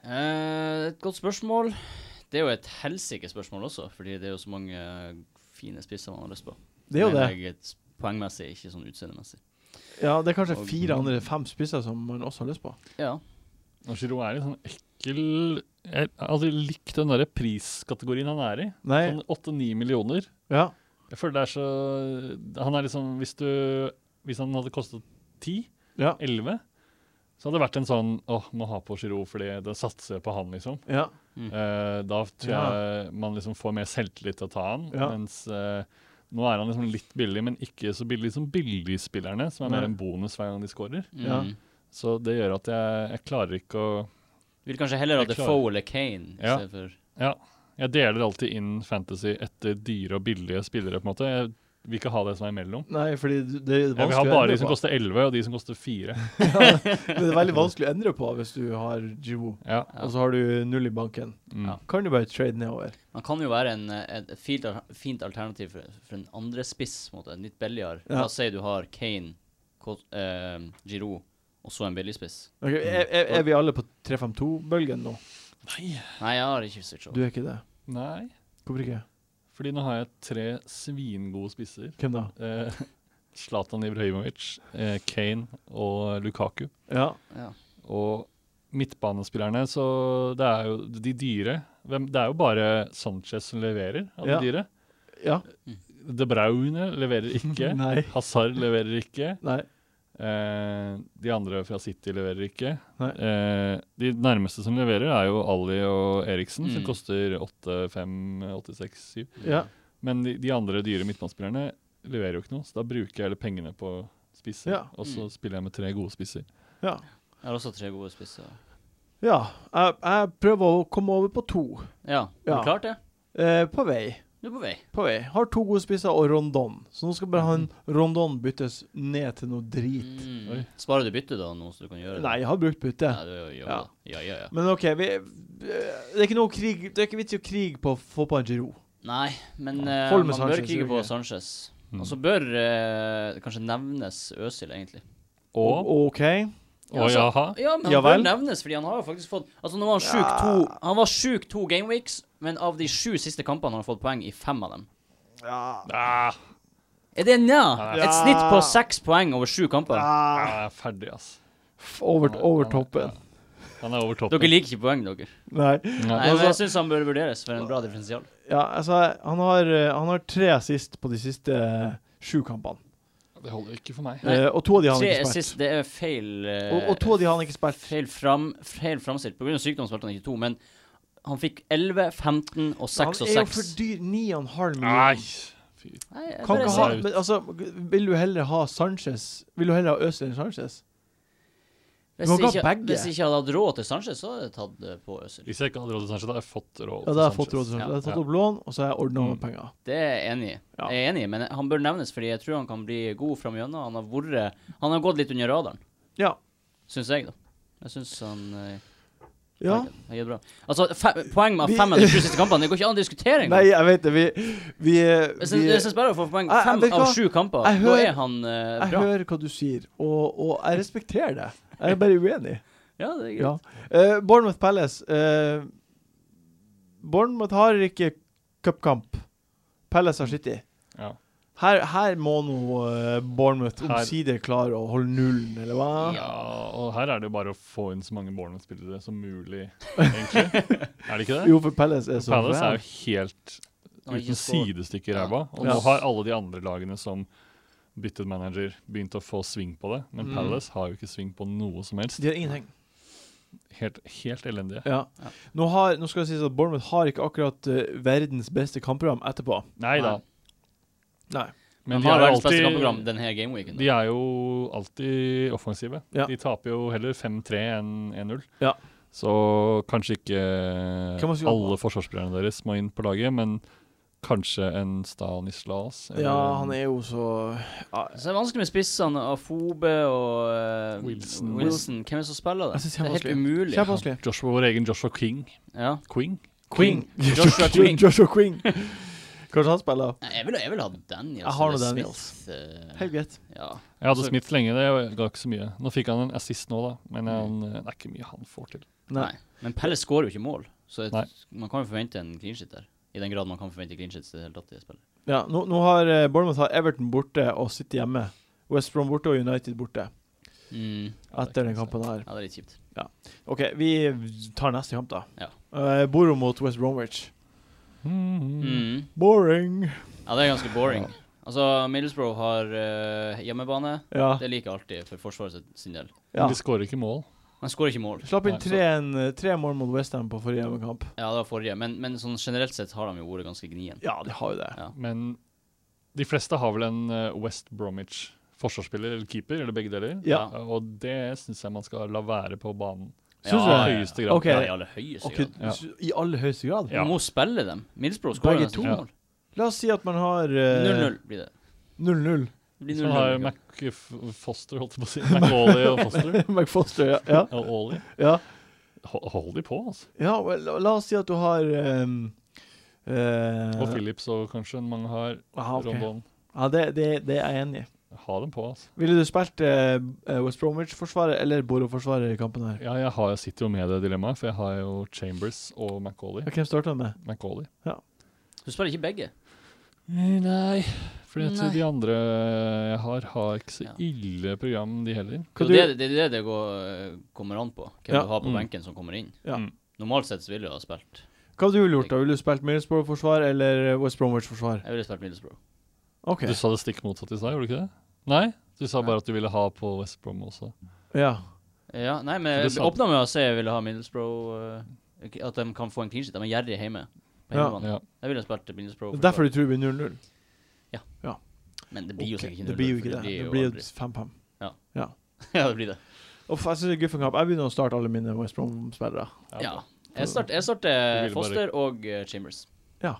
B: Eh, et godt spørsmål. Det er jo et helsike spørsmål også, fordi det er jo så mange eh, fine spisser man har lyst på.
A: Det er jo det.
B: Mener jeg et poengmessig, ikke sånn utseendemessig.
A: Ja, det er kanskje
B: Og-
A: fire andre fem spisser som man også har lyst på.
B: Ja.
D: Og Giroud er litt sånn ekkel Jeg har aldri likt den der priskategorien han er i.
A: Nei,
D: Sånn 8-9 millioner.
A: ja.
D: Jeg føler det er så Han er liksom Hvis du Hvis han hadde kostet 10,
A: Ja.
D: 11, så hadde det vært en sånn åh, må ha på Giroud fordi da satser jeg på han, liksom.
A: ja.
D: Eh, da tror
A: Ja.
D: jeg man liksom får mer selvtillit til å ta han.
A: Ja.
D: Mens eh, nå er han liksom litt billig, men ikke så billig som billigspillerne, som er mer
A: Nei.
D: en bonus hver gang de scorer.
B: Mm.
A: Ja.
D: Så det gjør at jeg, jeg klarer ikke å
B: Du vil kanskje heller ha
D: Jeg er klar.
B: Defoe eller Kane
D: Ja.
B: istedenfor
D: Ja. Jeg deler alltid inn fantasy etter dyre og billige spillere, på en måte. Jeg vil ikke ha det som er imellom.
A: Nei, fordi det det er
D: Jeg vil
A: vanskelig
D: ha
A: å
D: bare
A: endre
D: de
A: (laughs)
D: som
A: på.
D: koster 11, og de som koster 4.
A: Men det er veldig vanskelig å endre på hvis du har Giro,
D: Ja.
B: Ja.
A: og så har du null i banken.
D: Mm.
B: Ja.
A: Kan du bare trade nedover?
B: Man kan jo være en, eh, et fint, al- fint alternativ for, for en andre spiss, på en måte, en litt billigere.
A: Ja.
B: La oss si du har Kane, Ko- eh, Giroud og så en billigspiss.
A: Ok, er, er, er vi alle på 3-5-2-bølgen nå?
D: Nei.
B: Nei, jeg har ikke switcha.
A: Du er ikke det?
D: Nei.
A: Hvorfor ikke?
D: Fordi nå har jeg tre svingode spisser.
A: Hvem da?
D: Eh, (laughs) Zlatan Ibrahimovic, eh, Kane og Lukaku.
A: Ja.
B: Ja.
D: Og midtbanespillerne, så det er jo de dyre Hvem, Det er jo bare Sanchez som leverer av de
A: Ja.
D: dyre.
A: Ja.
D: De Braune leverer ikke.
A: (laughs) Nei.
D: Hazard leverer ikke.
A: Nei.
D: Eh, de andre fra City leverer ikke.
A: Nei.
D: Eh, de nærmeste som leverer, er jo Ali og Eriksen, som
B: Mm.
D: koster 8, 5, 86, 7.
A: Ja.
D: Men de, de andre dyre midtbanespillerne leverer jo ikke noe, så da bruker jeg alle pengene på spisser.
A: Ja.
D: Og så
B: Mm.
D: spiller jeg med tre gode spisser.
A: Ja.
B: Jeg har også tre gode spisser.
A: ja. Jeg, jeg prøver å komme over på to.
B: Ja,
A: Ja.
B: har du klart det?
A: Eh, på vei.
B: Du er på vei.
A: På vei. Har to gode spisser og Rondon. Så nå skal bare han Rondon byttes ned til noe drit.
B: Mm.
D: Oi.
B: Sparer du byttet da, nå, så du kan gjøre det?
A: Nei, jeg har brukt bytte.
B: Ja, du, gjør jo
A: Ja.
B: det. ja, ja, ja.
A: Men OK, vi, eh, det er ikke noe krig Det er ikke vits i å krige på å få på en Giro.
B: Nei, men eh,
A: Hold
B: man
A: med
B: bør
A: Sanchez,
B: krige
A: gjør
B: på
A: ikke.
B: Sanchez.
D: Mm.
B: Og så bør eh, det kanskje nevnes Øsil, egentlig.
D: Og,
A: OK.
B: Ja,
D: og
B: altså-
D: jaha.
B: Ja, men han
A: Ja
B: bør
A: vel.
B: nevnes, fordi han har jo faktisk fått Altså, nå var han sjuk
A: Ja.
B: to Han var sjuk to gameweeks, men av de sju siste kampene har han fått poeng i fem av dem.
A: Ja.
D: Ah,
B: Er det nja?
A: Ja.
B: Et snitt på seks poeng over sju kamper.
A: Ah.
D: jeg er ferdig, ass.
A: Over,
D: Han er-
A: over
D: han er-
A: toppen.
D: ja. Han er over toppen.
B: Dere liker ikke poeng, dere.
A: Nei.
B: Nei,
D: Nei.
B: men
A: Altså-
B: jeg syns han bør vurderes for en bra differensial.
A: Ja, altså, han har, eh, han har tre assist på de siste eh, sju kampene.
D: Det holder ikke for meg.
B: Nei.
A: Eh, og to av de har han
B: Tre
A: ikke spilt.
B: assist, eh, det er feil eh,
A: Og, og to av de har han ikke spilt.
B: Feil, fram, feil framstilt. På grunn av sykdom spilte han ikke to, men han fikk 11, 15 og 6 og
A: Han er jo
B: 6.
A: for dyr. 9,5
D: Nei.
A: millioner.
D: Fy.
B: Nei, jeg
A: Kan
B: bare
A: ikke
B: sier-
A: ha,
D: ut.
A: men altså, vil du heller ha Sanchez Vil du heller ha Øzil enn Sanchez?
B: Hvis
A: Du må ikke ha
B: ikke,
A: begge.
B: hvis ikke jeg hadde hatt råd til Sanchez, så hadde jeg tatt det på Øsil.
D: Hvis jeg ikke hadde råd til Sanchez, hadde jeg fått råd
A: Ja, da har jeg fått råd til Sanchez.
B: Ja.
A: Jeg har tatt opp lån, og så har jeg ordna med
D: Mm.
A: penger.
B: Det er jeg enig i.
A: Ja.
B: Jeg er enig, i, men han bør nevnes, fordi jeg tror han kan bli god fram gjennom. Han har vært Han har gått litt under radaren,
A: Ja.
B: syns jeg, da. Jeg syns han eh,
A: ja.
B: har gitt bra. Altså, fe poeng med
A: Vi-
B: fem av de sju siste kampene, det går ikke an å diskutere
A: Nei,
B: engang.
A: jeg vet det. Vi, vi, eh,
B: Jeg
A: vi
B: syns- jeg syns bare å få poeng
A: Jeg- jeg
B: fem
A: vet
B: av
A: hva.
B: sju kamper,
A: Jeg
B: da
A: hører-
B: er han eh,
A: Jeg
B: bra.
A: hører hva du sier, og, og jeg respekterer det. Jeg er bare
B: (laughs)
A: uenig.
B: Ja, det er greit.
A: Ja. Eh, Bournemouth Palace eh, Bournemouth har ikke cupkamp. Palace har City.
D: Ja.
A: Her, her må nå eh, Bournemouth
D: Her-
A: omsider klare å holde nullen, eller hva?
B: Ja.
D: Ja, og her er det jo bare å få inn så mange Bournemouth-spillere som mulig,
A: (laughs)
D: egentlig. er det ikke det?
A: Jo, for Palace er så
D: Palace er
A: ræv.
D: jo helt
B: Han har ikke
D: uten
B: skåret.
D: sidestykke i ræva. Og
A: Ja.
D: nå har alle de andre lagene som byttet manager, begynt å få sving på det. Men
A: Mm.
D: Palace har jo ikke sving på noe som helst.
A: De har ingenting.
D: Helt, helt elendige.
A: Ja.
B: Ja.
A: Nå, har, nå skal det sies at Bournemouth har ikke akkurat eh, verdens beste kampprogram etterpå.
D: Nei da.
A: Nei.
B: han
D: Men de
B: har
D: er, jo
B: verdens beste kampprogram
D: alltid,
B: denne gameweeken.
D: de er jo alltid offensive.
A: Ja.
D: De taper jo heller 5-3 enn 1-0.
A: Ja.
D: Så kanskje ikke
A: Hvem har skrevet
D: alle forsvarsspillerne deres må inn på laget, men kanskje en Stanislas. eller
A: Ja,
D: en-
A: han er jo så ja,
B: Så det er vanskelig med spissene. Afobe og eh,
D: Wilson.
B: Wilson. Hvem er det som spiller
A: Jeg
B: det?
A: synes
B: Det er helt umulig.
A: Kjempevanskelig.
D: Joshua, vår egen Joshua King.
B: Ja.
D: Quing?
A: (laughs)
B: Queen. Joshua Queen.
A: Joshua Queen. Kanskje han spiller?
B: Nei, Jeg ville vil ha Daniels.
A: Jeg har
B: eller
A: noe Daniels.
B: Smith, eh,
A: Helt greit.
B: ja.
D: Jeg hadde
B: Så-
D: Smith lenge, det ga ikke så mye. Nå fikk han en assist nå, da,
A: Mm.
D: men han, det er ikke mye han får til.
A: Nei.
B: Nei. Men Pelle skårer jo ikke mål, så et,
D: Nei.
B: man kan jo forvente en clean shit der. I den grad man kan forvente clean shits i det hele tatt i det spillet.
A: Ja, nå, nå har eh, Bournemouth har Everton borte og City hjemme. West Brom borte og United borte
B: Mm.
A: etter den kampen her.
B: Ja, det er litt kjipt.
A: OK, vi tar neste kamp, da.
B: Ja.
A: Eh, Boro mot West Bromwich.
D: Mm.
B: Mm.
A: Boring.
B: Ja, det er ganske boring. Altså, Middlesbrough har eh, hjemmebane.
A: Ja.
B: Det liker jeg alltid for Forsvaret sin del.
A: ja.
D: Men de skårer ikke mål.
B: Man skårer ikke mål.
A: Slapp inn
D: Nei, så-
A: tre, en, tre mål mot Westham på forrige hjemmekamp.
B: Ja, det var forrige, men, men sånn generelt sett har de jo vært ganske gnien.
A: Ja, de har jo det.
B: Ja.
D: Men de fleste har vel en eh, West Bromwich forsvarsspiller eller keeper, eller begge deler.
A: Ja.
D: Eh, Og det syns jeg man skal la være på banen.
A: Syns
D: I
A: Ja,
B: ja,
D: høyeste grad.
A: Ok.
B: Ja, i aller høyeste
A: Ok,
B: grad.
D: Ja.
A: s- I aller høyeste grad.
D: Ja.
B: Man må spille dem. Middlesbrough skårer
A: Begge
B: nesten
A: to.
B: ikke mål.
A: La oss si at man har eh,
B: 0-0 blir det.
A: (laughs) 0-0.
B: Det blir
D: Så Sånn har
B: 0-0.
D: Mac Foster, holdt jeg på å si. McAuley og Foster.
A: McFoster, ja. Ja,
D: Og Ollie.
A: ja.
D: Ho- Hold de på, altså.
A: ja vel, la- la oss si at du har ehm, eh,
D: Og Phillips og kanskje mange har.
A: aha, Ah, ok.
D: Rondon.
A: Ja, det, det, det er jeg enig i.
D: Ha dem på, altså.
A: Ville du spilt eh, West Bromwich-forsvaret eller Boro-forsvaret i kampen her?
D: Ja, jeg, har, jeg sitter jo med det dilemmaet, for jeg har jo Chambers og McAuley.
A: Ja, Hvem starter han med?
D: McAuley.
B: Du spiller ikke begge.
D: Nei, fordi jeg
B: Nei.
D: tror de andre jeg har, har ikke så
B: Ja.
D: ille program, de heller.
A: Hva
B: Det er jo det, det, er det det går, eh, kommer an på, hvem
A: Ja.
B: du har på
D: Mm.
B: benken som kommer inn.
A: Ja.
D: Mm.
B: Normalt sett så ville jeg ha spilt
A: Hva hadde du gjort? da? Ville du spilt Middlesbrough-forsvar eller West Bromwich-forsvar?
B: Jeg ville spilt Middlesbrough.
A: OK.
D: Du sa det stikk motsatt i stad, gjorde du ikke det? Nei? Du sa bare at du ville ha på West Brom også.
A: Ja.
B: Ja, nei, men
D: For det
B: jeg
D: sa-
B: åpna med å si jeg ville ha Middlesbrough eh, At de kan få en clean sheet. De er gjerrige hjemme. På
A: Ja.
B: hjemmebane.
D: Ja.
B: Jeg ville ha spilt Middlesbrough.
A: Det er derfor du tror det blir 0-0?
B: Men det blir jo
A: Ok,
B: sikkert ikke
A: Det blir jo
B: for
A: ikke det. Det
B: jo
A: blir
B: aldri- (laughs)
A: 5-5.
B: Ja, det blir det.
A: Uff, jeg synes det er guffen kamp. Jeg begynner å starte alle mine West Brom-spillere.
B: Ja. Jeg start- jeg starter
D: ville bare-
B: Foster og eh, Chambers.
A: Hva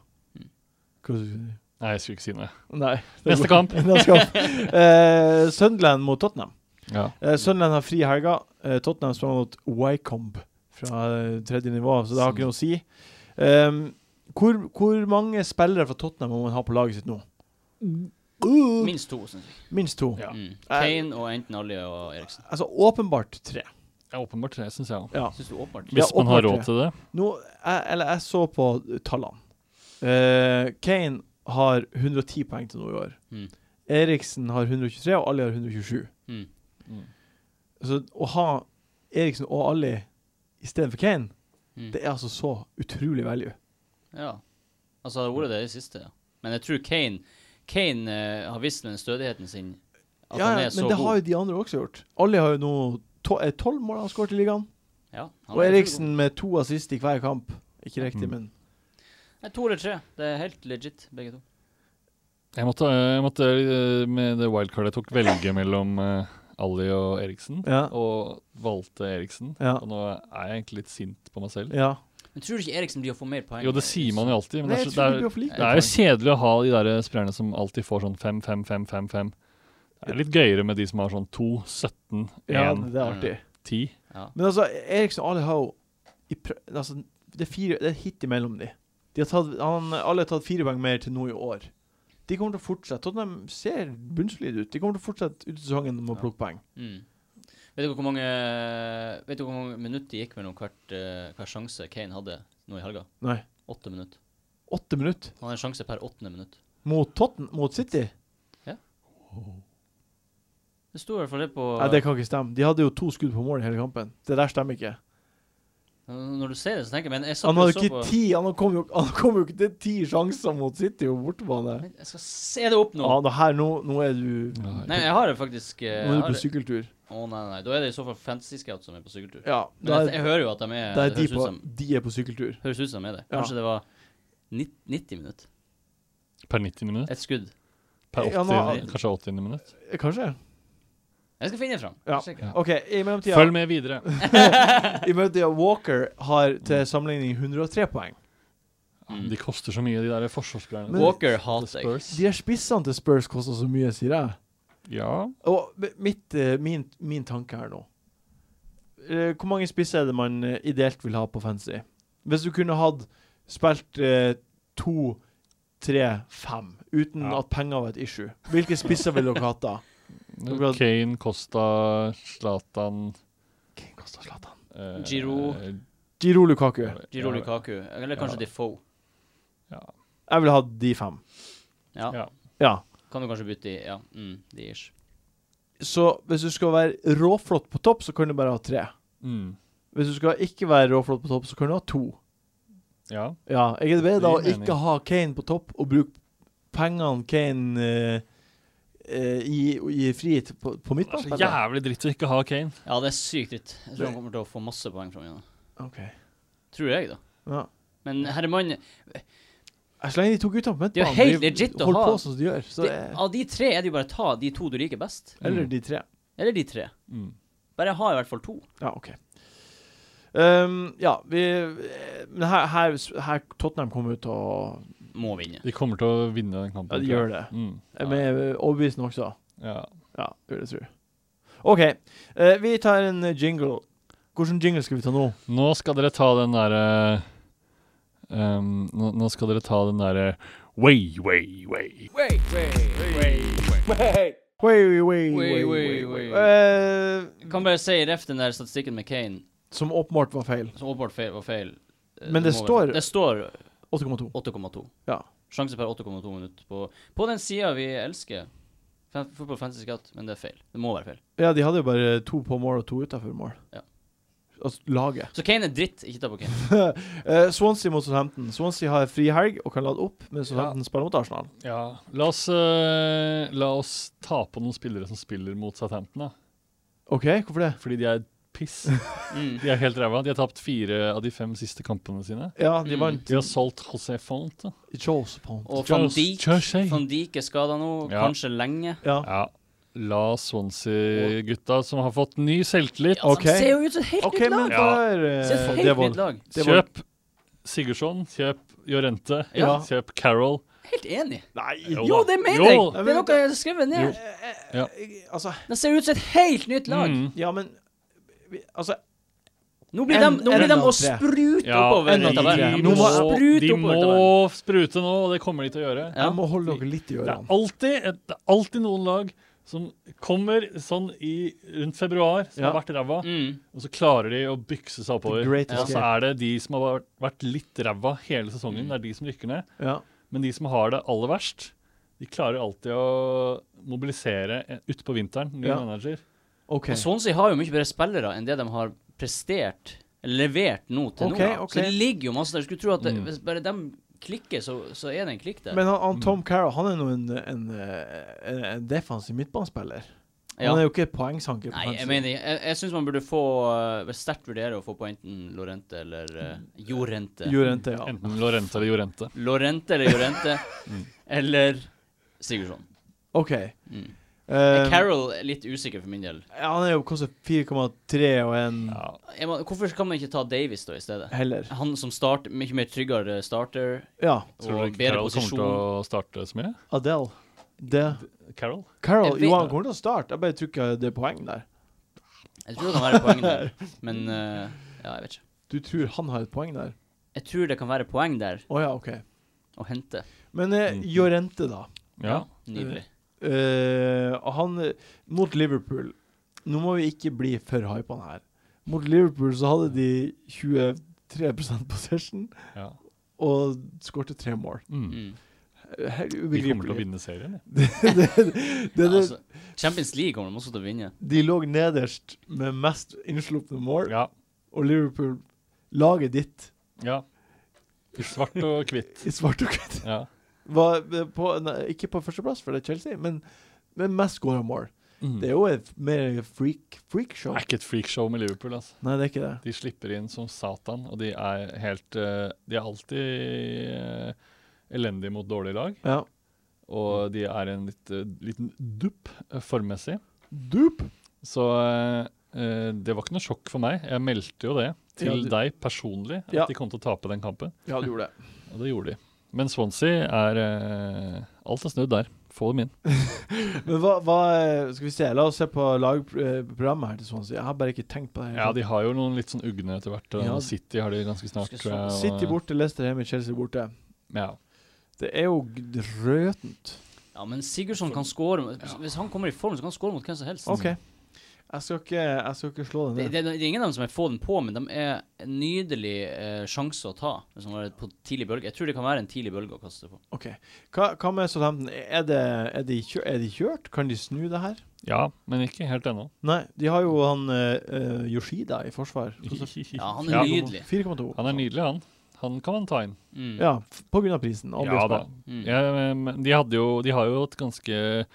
A: skulle du si?
D: Nei, jeg skulle ikke si noe.
A: Nei.
D: Neste
A: (laughs)
D: kamp.
A: Neste kamp. Eh, Sunderland mot Tottenham.
D: Ja.
A: Eh, Sunderland har fri i helga. Eh, Tottenham spiller mot Wycombe fra eh, tredje nivå, så det har ikke noe å si. Ehm, hvor, hvor mange spillere fra Tottenham må man ha på laget sitt nå?
B: Minst to, syns jeg.
A: Minst to.
D: Ja.
B: Mm. Kane og enten Ali og Eriksen.
A: Altså åpenbart tre.
D: Ja, åpenbart tre, syns jeg òg.
A: Ja.
B: Syns du åpenbart?
A: Ja,
D: Hvis man har
A: åpenbart
D: råd
A: tre.
D: til det.
A: Nå, jeg, eller jeg så på tallene. Eh, Kane har 110 poeng til nå i år.
B: Mm.
A: Eriksen har 123, og Ali har 127.
B: Mm.
A: Så å ha Eriksen og Ali istedenfor Kane,
B: Mm.
A: det er altså så utrolig value.
B: Ja. Altså, det har vært det i det siste, ja. Men jeg tror Kane Kane eh, har vist med den stødigheten sin at
A: Ja,
B: han
A: ja,
B: er så
A: men
B: god.
A: det har jo de andre også gjort. Ali har jo nå to- eh, tolv mål han skåret i ligaen.
B: ja, han
A: Og
B: er
A: Eriksen med to assist i hver kamp. Ikke riktig,
D: Mm.
A: men
B: utrolig god. Nei, To eller tre. Det er helt legit, begge to.
D: Jeg måtte, jeg måtte eh, med det wildcardet jeg tok, velge mellom eh, Ali og Eriksen.
A: Ja.
D: Og valgte Eriksen.
A: Ja.
D: Og nå er jeg egentlig litt sint på meg selv.
A: Ja.
B: Men tror du ikke Eriksen blir å få mer poeng?
D: Jo, det sier man jo alltid, men
A: Nei,
D: det er,
A: jeg
D: så-
A: tror de
D: det er,
A: blir for like.
D: Det er jo kjedelig å ha de der spillerne som alltid får sånn 5, 5, 5, 5, 5. Det er litt gøyere med de som har sånn 2, 17, 1,
A: Ja, det er artig.
D: 10.
B: Ja.
A: Men altså, Eriksen og Ali har jo i prø- altså, Det er fire Det er hit imellom de. de har tatt, han, alle har tatt fire poeng mer til nå i år. De kommer til å fortsette. Tottenham ser bunnsolide ut. De kommer til å fortsette ut sesongen med å
B: Ja.
A: plukke poeng.
B: Mm. Vet du hvor mange Vet du hvor mange minutter det gikk mellom hvert, eh, hver sjanse Kane hadde nå i helga?
A: Nei.
B: Åtte minutter.
A: Åtte minutter
B: Han har en sjanse per åttende minutt.
A: mot Totten, mot City.
B: Det sto i hvert fall det på
A: Nei, det kan ikke stemme. De hadde jo to skudd på mål i hele kampen. Det der stemmer ikke.
B: Når du sier det, så tenker jeg Men jeg satt
A: Han
B: og
A: hadde
B: så
A: ikke
B: på
A: ti Han kom jo, han kom jo ikke til ti sjanser mot City og bortebane.
B: Men Jeg skal se det opp nå.
A: Ja, det her, nå, nå er du Nå
B: Nei, jeg har det faktisk eh, jeg
A: er du
B: har
A: på
B: det.
A: sykkeltur.
B: Å nei, nei, nei. Da er det i så fall Fantasy Scout som er på sykkeltur.
A: Ja,
B: Men
A: da
B: jeg,
A: er,
B: jeg hører jo at de er
A: da er
B: det
A: de,
B: høres,
A: på,
B: ut som,
A: de er på sykkeltur.
B: høres ut som er det.
A: Ja.
B: Kanskje det var nitt- 90 minutter.
D: Per 90. minutt?
B: Et skudd.
D: Per
A: Ja,
D: 80,
A: nå-
D: kanskje 80. minutt?
A: Eh, Kanskje?
B: Jeg skal finne det fram.
A: Ja.
B: Sjekke.
A: OK, i mellomtida
D: Følg med videre.
A: I mellomtida Walker har til sammenligning 103 poeng.
B: Mm.
D: De koster så mye, de der forsvarsgreiene.
A: Men-
B: Walker
D: The
B: hater jeg.
D: Spurs.
A: De her spissene til Spurs koster så mye, sier jeg.
D: Ja.
A: Og b- mitt, eh, min, min tanke her nå Eh, Hvor mange spisser er det man eh, ideelt vil ha på fancy? Hvis du kunne hatt spilt eh, to, tre, fem uten
D: Ja.
A: at penger var et issue, hvilke spisser ville dere hatt da?
D: (laughs)
A: bra.
D: Kane, Costa, Zlatan
A: Kane Kosta Zlatan.
D: eh,
B: Giroud.
A: Giro Lukaku.
B: Giro
D: Ja,
B: Lukaku. Eller kanskje
D: Ja.
B: Defoe.
A: Jeg ville hatt de fem.
B: Ja.
D: Ja.
A: Ja.
B: Kan du kanskje bytte i Ja, mm, de ish.
A: Så hvis du skal være råflott på topp, så kan du bare ha tre.
D: Mm.
A: Hvis du skal ikke være råflott på topp, så kan du ha to.
D: Ja.
A: Ja, jeg er bedre å
D: Det gir mening.
A: ikke ha Kane på topp og bruke pengene Kane eh, eh, gir gir fri til- på, på
D: Det er så
B: Altså,
A: midtbanen.
D: jævlig dritt å ikke ha Kane.
B: Ja, det er sykt dritt. Jeg tror han kommer til å få masse poeng fra meg. nå.
A: Ok.
B: Tror jeg, da.
A: Ja.
B: Men herremann,
A: Jeg slenger de to guttene på
B: Det er jo
A: midtbanen.
B: helt
A: de
B: legit å
A: holder
B: ha-
A: på som de gjør. Så,
B: de,
A: eh,
B: av de tre er det jo bare å ta de to du liker best.
A: eller de tre.
B: Eller de tre.
D: Mm.
B: Bare ha i hvert fall to.
A: Ja, OK. Ehm, ja, vi eh, Men her, her, her Tottenham kommer ut og
B: Må vinne.
D: De kommer til å vinne den kampen.
A: ja, de
D: tror jeg.
A: gjør det.
D: Mm.
A: Jeg er overbevisende også.
D: Ja.
A: Ja, det vil jeg tro. OK. eh, vi tar en eh, jingle. Hvilken jingle skal vi ta nå?
D: Nå skal dere ta den derre ehm, nå, nå skal dere ta den derre Way, way, way.
A: Oi, oi, oi,
B: Oi, oi, oi.
A: Eh,
B: Jeg kan bare si ref den der statistikken med Kane,
A: Som åpenbart var feil.
B: som åpenbart feil, var feil. Eh,
A: Men det
B: må være
A: står-
B: feil. Det står
A: 8,2.
B: 8,2.
A: Ja.
B: Sjanse per 8,2 minutter på, på den sida vi elsker. Fan- Football Fantasy Scout, men det er feil. Det må være feil.
A: Ja, de hadde jo bare to på mål og to utafor mål.
B: Ja.
A: Altså laget.
B: Så Kane er dritt. Ikke ta på (laughs) Kane.
A: Eh, Swansea mot Southampton. Swansea har frihelg og kan lade opp, men Southampton spiller mot Arsenal.
D: Ja. La oss, eh, la oss ta på noen spillere som spiller mot Southampton, da.
A: OK, hvorfor det?
D: Fordi de er piss.
B: Mm.
D: De er helt ræva. De har tapt fire av de fem siste kampene sine.
A: Ja, de
B: Mm.
A: vant.
D: De har solgt José Font. da.
A: I Charles Pond.
B: Og van
D: Charles-
B: Dijk,
D: Charles-
B: van Dijk er skada nå,
D: Ja.
B: kanskje lenge.
A: Ja.
D: Ja. La Swansea-gutta, som har fått ny selvtillit,
A: Ok.
B: Han ser jo ut som et helt
A: OK,
B: nytt
A: men
B: lag!
A: der
B: Ser ut som
A: eh,
B: et helt nytt
A: Devold.
B: lag.
A: Det var-
D: kjøp Sigurdsson, kjøp Jorente,
A: Ja.
D: kjøp Carol.
B: Helt enig.
A: Nei
D: Jo
B: Jo,
D: da.
B: det mener jeg!
D: Jo.
B: Det er noe jeg har skrevet ned.
D: Ja.
A: Altså,
B: Det ser ut som et helt nytt lag.
D: Mm.
A: ja, men vi- Altså,
B: Nå blir de,
A: En-
B: nå blir
A: en
B: de
A: av
B: å
A: tre.
B: sprute
D: Ja,
B: oppover.
A: en av
B: i tabellen.
A: tre.
D: de
A: Nå
D: må,
A: må-
B: sprute
D: de
B: oppover. i
D: må
B: tabellen.
D: sprute nå, og det kommer de til å gjøre.
B: Ja.
A: jeg må holde dere litt i
D: Det er
A: ørene.
D: alltid, et- det er alltid noen lag som kommer sånn i, rundt februar, som
A: Ja.
D: har vært ræva,
B: Mm.
D: og så klarer de å bykse seg oppover.
A: The great
D: Ja. Og så
A: escape.
D: er det de som har vært- vært litt ræva hele sesongen,
B: Mm.
D: det er de som rykker ned.
A: Ja.
D: Men de som har det aller verst, de klarer alltid å mobilisere eh, utpå vinteren. Ny
A: Ja.
D: manager.
A: OK.
B: Og Swansea har jo mye bedre spillere enn det de har prestert, levert nå til
A: Ok,
B: nå. da.
A: ok.
B: Så det ligger jo masse der. Jeg skulle tro at det,
D: Mm.
B: hvis bare de klikker, så, så er det en klikk der.
A: Men han, han Tom Carroll han er nå en, en, en, en defensiv midtbanespiller.
B: ja.
A: Han er jo ikke poengsanker. på
B: Nei,
A: fantasy.
B: jeg mener Jeg, jeg syns man burde få uh, sterkt vurdere å få på enten Lorente eller eh, Jorente.
A: Jorente, ja.
B: Mm.
D: Enten Lorente eller Jorente.
B: Lorente eller
A: (laughs)
B: Jorente
A: Mm.
B: eller Sigurdsson.
A: OK.
B: Mm.
A: Eh,
B: Carol er litt usikker for min del.
A: ja, han er jo koster 4,3 og en
D: Ja.
B: Jeg må, hvorfor kan man ikke ta Davis da i stedet?
A: heller.
B: Han som starter mye mer tryggere starter
A: Ja.
D: Tror
B: og
D: du
B: bedre
D: Carol kommer
B: posisjon.
D: til å starte så mye?
A: Adele. Det.
D: Carol?
A: Carroll
B: Jeg vet-
A: jo, han kommer til å starte. Jeg bare tror ikke det er poeng der.
B: Jeg tror det kan være
A: (laughs)
B: poeng der, men eh, ja, jeg vet ikke.
A: Du tror han har et poeng der?
B: Jeg tror det kan være poeng der
A: Å ja, OK.
B: å hente.
A: Men eh,
B: Mm.
D: Mhm.
A: Jorente, da.
D: Ja.
B: Nydelig.
A: Eh, han Mot Liverpool Nå må vi ikke bli for hypa her. Mot Liverpool så hadde de 23 possession
D: ja.
A: og skårte tre mål.
D: Mm.
B: Mm.
A: Eh, helt
D: De kommer til å
A: ubegripelig.
D: vinne serien. ja.
A: Det, det,
B: altså, Champions League kommer de også til å vinne.
A: de lå nederst med mest innslupne mål,
D: Ja.
A: og Liverpool Laget ditt
D: ja. I svart og (laughs) hvitt.
A: i svart og hvitt
D: Ja.
A: var på, nei, ikke på førsteplass, for det er Chelsea, men med mest skåra mål. Det er jo et mer freak, freak show.
D: Det er ikke et Mm. freakshow med Liverpool. altså.
A: Nei, det er ikke det.
D: De slipper inn som satan, og de er helt eh, De er alltid eh, elendige mot dårlige lag.
A: Ja.
D: Og de er en litt, eh, liten dupp eh, formmessig.
A: Dup!
D: Så eh, eh, det var ikke noe sjokk for meg. Jeg meldte jo det til
A: Ja, du-
D: deg personlig, at
A: Ja.
D: de kom til å tape den kampen.
A: Ja, du gjorde det.
D: Og det gjorde de. Men Swansea er eh, Alt er snudd der. Få dem inn.
A: Men hva, hva eh, Skal vi se, la oss se på lagprogrammet her til Swansea. Jeg har bare ikke tenkt på det. her.
D: Ja, de har jo noen litt sånn ugne etter hvert.
A: Ja.
D: og City har de ganske snart,
B: Skal
D: tror jeg. og-
A: City borte, Leicester hjemme, Chelsea borte.
D: Ja.
A: Det er jo g- røtent.
B: Ja, men Sigurdsson kan score. Hvis han kommer i form, så kan han score mot hvem som helst.
A: OK.
D: Mm.
A: Jeg skal ikke, jeg skal ikke slå
B: Det,
A: den ned.
B: det, det er ingen av dem som er få den på, men de er en nydelig eh, sjanse å ta. Hvis man er på tidlig bølge. Jeg tror det kan være en tidlig bølge å kaste på.
A: OK. Hva, hva med Southampton? Er, det, er, de kjø, er de kjørt? Kan de snu det her?
D: ja, men ikke helt ennå.
A: Nei, de har jo han eh, eh, Yoshida i forsvar.
B: Ja, han
D: Ja.
B: er nydelig.
A: 4,2.
D: Han er nydelig, han. Han kan man ta inn.
B: Mm.
A: Ja, f- på grunn av prisen.
D: Ja
A: obviously.
D: da.
B: Mm.
D: Ja, men de, hadde jo, de har jo et ganske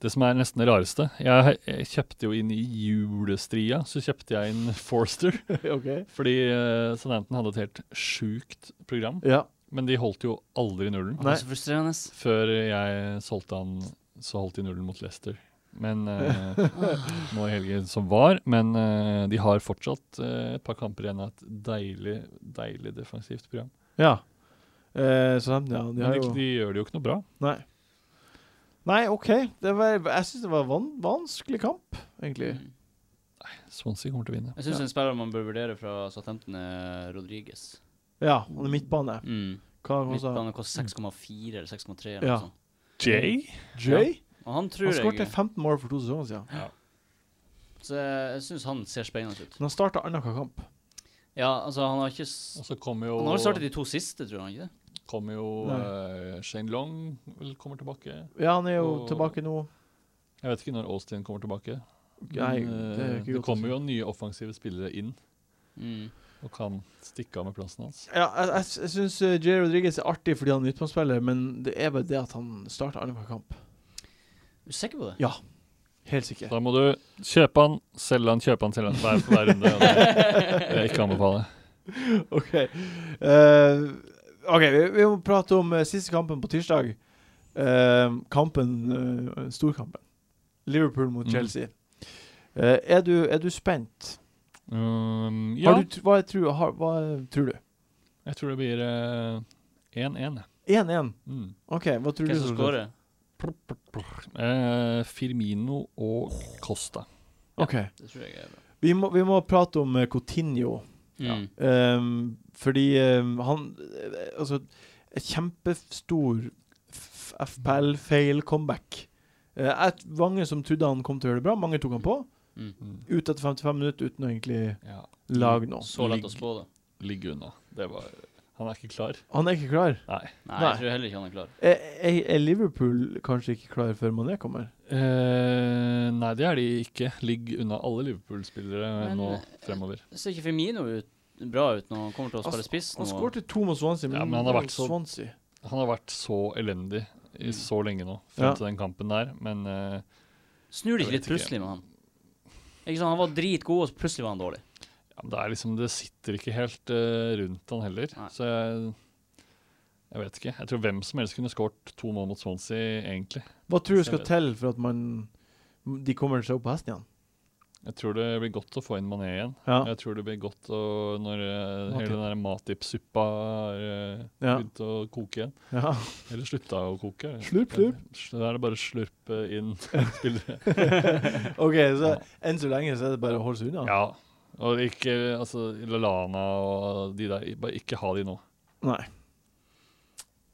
D: Det som er nesten det rareste Jeg, jeg kjøpte jo inn i julestria, så kjøpte jeg inn Forster.
A: (laughs) OK.
D: Fordi uh, Southampton hadde et helt sjukt program,
A: Ja.
D: men de holdt jo aldri nullen.
B: Han
A: Nei.
B: er så frustrerende.
D: Før jeg solgte han, så holdt de nullen mot Leicester. Men eh, nå i helgen som var. Men eh, de har fortsatt eh, et par kamper igjen av et deilig, deilig defensivt program.
A: ja. Eh, Southampton, ja. De
D: Men
A: har
D: de,
A: jo
D: de gjør det jo ikke noe bra.
A: Nei. Nei, OK. Det var, jeg syns det var van vanskelig kamp, egentlig.
B: Mm.
D: Swansea kommer til å vinne.
B: Jeg syns
A: Ja.
B: en spiller man bør vurdere fra Southampton, er Rodriguez.
A: Ja, han er midtbane.
B: Mm.
A: Hva kosta han?
B: Midtbane koster 6,4 eller 6,3 eller
A: Mm. Ja.
B: noe sånt.
D: Jay?
A: Jay?
B: Og han tror
A: Han skåret
B: jeg
A: 15 mål for to sesonger siden.
B: Så jeg syns han ser spennende ut.
A: Men han starta annenhver kamp.
B: Ja, altså, han har ikke s
D: Og så kommer jo,
B: Han har vel startet de to siste, tror han ikke det?
D: kommer jo eh, Shane Long vel kommer tilbake.
A: Ja, han er jo
D: Og-
A: tilbake nå.
D: Jeg vet ikke når Austin kommer tilbake.
A: Nei,
D: men,
A: det er
D: eh,
A: ikke
D: det
A: godt å si.
D: kommer jo nye offensive spillere inn
B: Mm.
D: og kan stikke av med plassen hans.
A: Ja, jeg, jeg, jeg syns Jay Rodriguez er artig fordi han er midtbanespiller, men det er bare det at han starta annenhver kamp.
B: Er du sikker på det?
A: Helt sikker.
D: Da må du kjøpe han, selge han, kjøpe han, selge han hver, hver runde.
A: (laughs)
D: og Det (laughs) det vil jeg ikke anbefale.
A: OK. Eh, ok, vi, vi må prate om eh, siste kampen på tirsdag. Eh, kampen eh, Storkampen. Liverpool mot
D: Mhm.
A: Chelsea. Eh, er, du, er du spent?
D: Um, ja,
A: Har du, tr- hva, tror, har, hva tror du?
D: jeg tror det blir eh, 1-1.
A: 1-1.
D: Mm.
A: OK, hva tror
B: Hvem
A: du?
B: som
A: som
B: skårer?
D: Plur, plur, plur. Eh, Firmino og Costa.
A: Ok.
B: Det tror jeg er bra.
A: Vi må, vi må prate om eh, Coutinho.
B: Mm.
A: Ehm, fordi ehm, han eh, Altså, et kjempestor f- FPL-feil-comeback. Eh, mange som trodde han kom til å gjøre det bra, mange tok han på.
B: Mm.
D: Mm.
A: Ut etter 55 minutter uten å egentlig
D: Ja,
A: lage
D: Mm,
A: noe.
B: Så lett å
D: Ligg.
B: spå det.
D: ligg unna. Det var Han er ikke klar.
A: Han er ikke klar.
B: Nei,
A: Nei.
B: jeg tror heller ikke han er klar.
A: Er, er- er Liverpool kanskje ikke klar før Mané kommer?
D: Eh, nei, det er de ikke. Ligg unna alle Liverpool-spillere
B: Men,
D: nå
B: eh,
D: fremover.
B: Det ser ikke Firmino ut, bra ut når han kommer til å
A: Han-
B: spille spiss nå?
A: Han skårte to mot Swansea, men,
D: Ja, men han
A: det
D: har
A: var
D: vært så-
A: Swansea.
D: Han har vært så elendig i
B: Mm.
D: så lenge nå, frem
A: Ja.
D: til den kampen der, men eh,
B: Snur det ikke
D: Jeg
B: litt
D: vet ikke.
B: plutselig med han? Ikke sant, Han var dritgod, og så plutselig var han dårlig.
D: ja, men det er liksom Det sitter ikke helt eh, rundt han heller.
B: Nei.
D: Så jeg, jeg vet ikke. Jeg tror hvem som helst kunne skåret to mål mot Swansea, egentlig.
A: Hva tror du
D: Så jeg
A: skal
D: vet.
A: til for at man de kommer seg opp på hesten igjen?
D: Jeg tror det blir godt å få inn Mané igjen.
A: Ja.
D: Jeg tror det blir godt å, når eh,
A: Matip.
D: hele den der Matip-suppa har eh,
A: Ja.
D: begynt å koke igjen.
A: ja. (laughs)
D: Eller slutta å koke.
A: Slurp, slurp.
D: Da er det bare å slurpe
A: (laughs)
D: inn spillere.
A: OK, så enn så lenge så er det bare å holde seg unna?
D: Ja. Og ikke altså, Lallana og de der, bare ikke ha de nå.
A: Nei.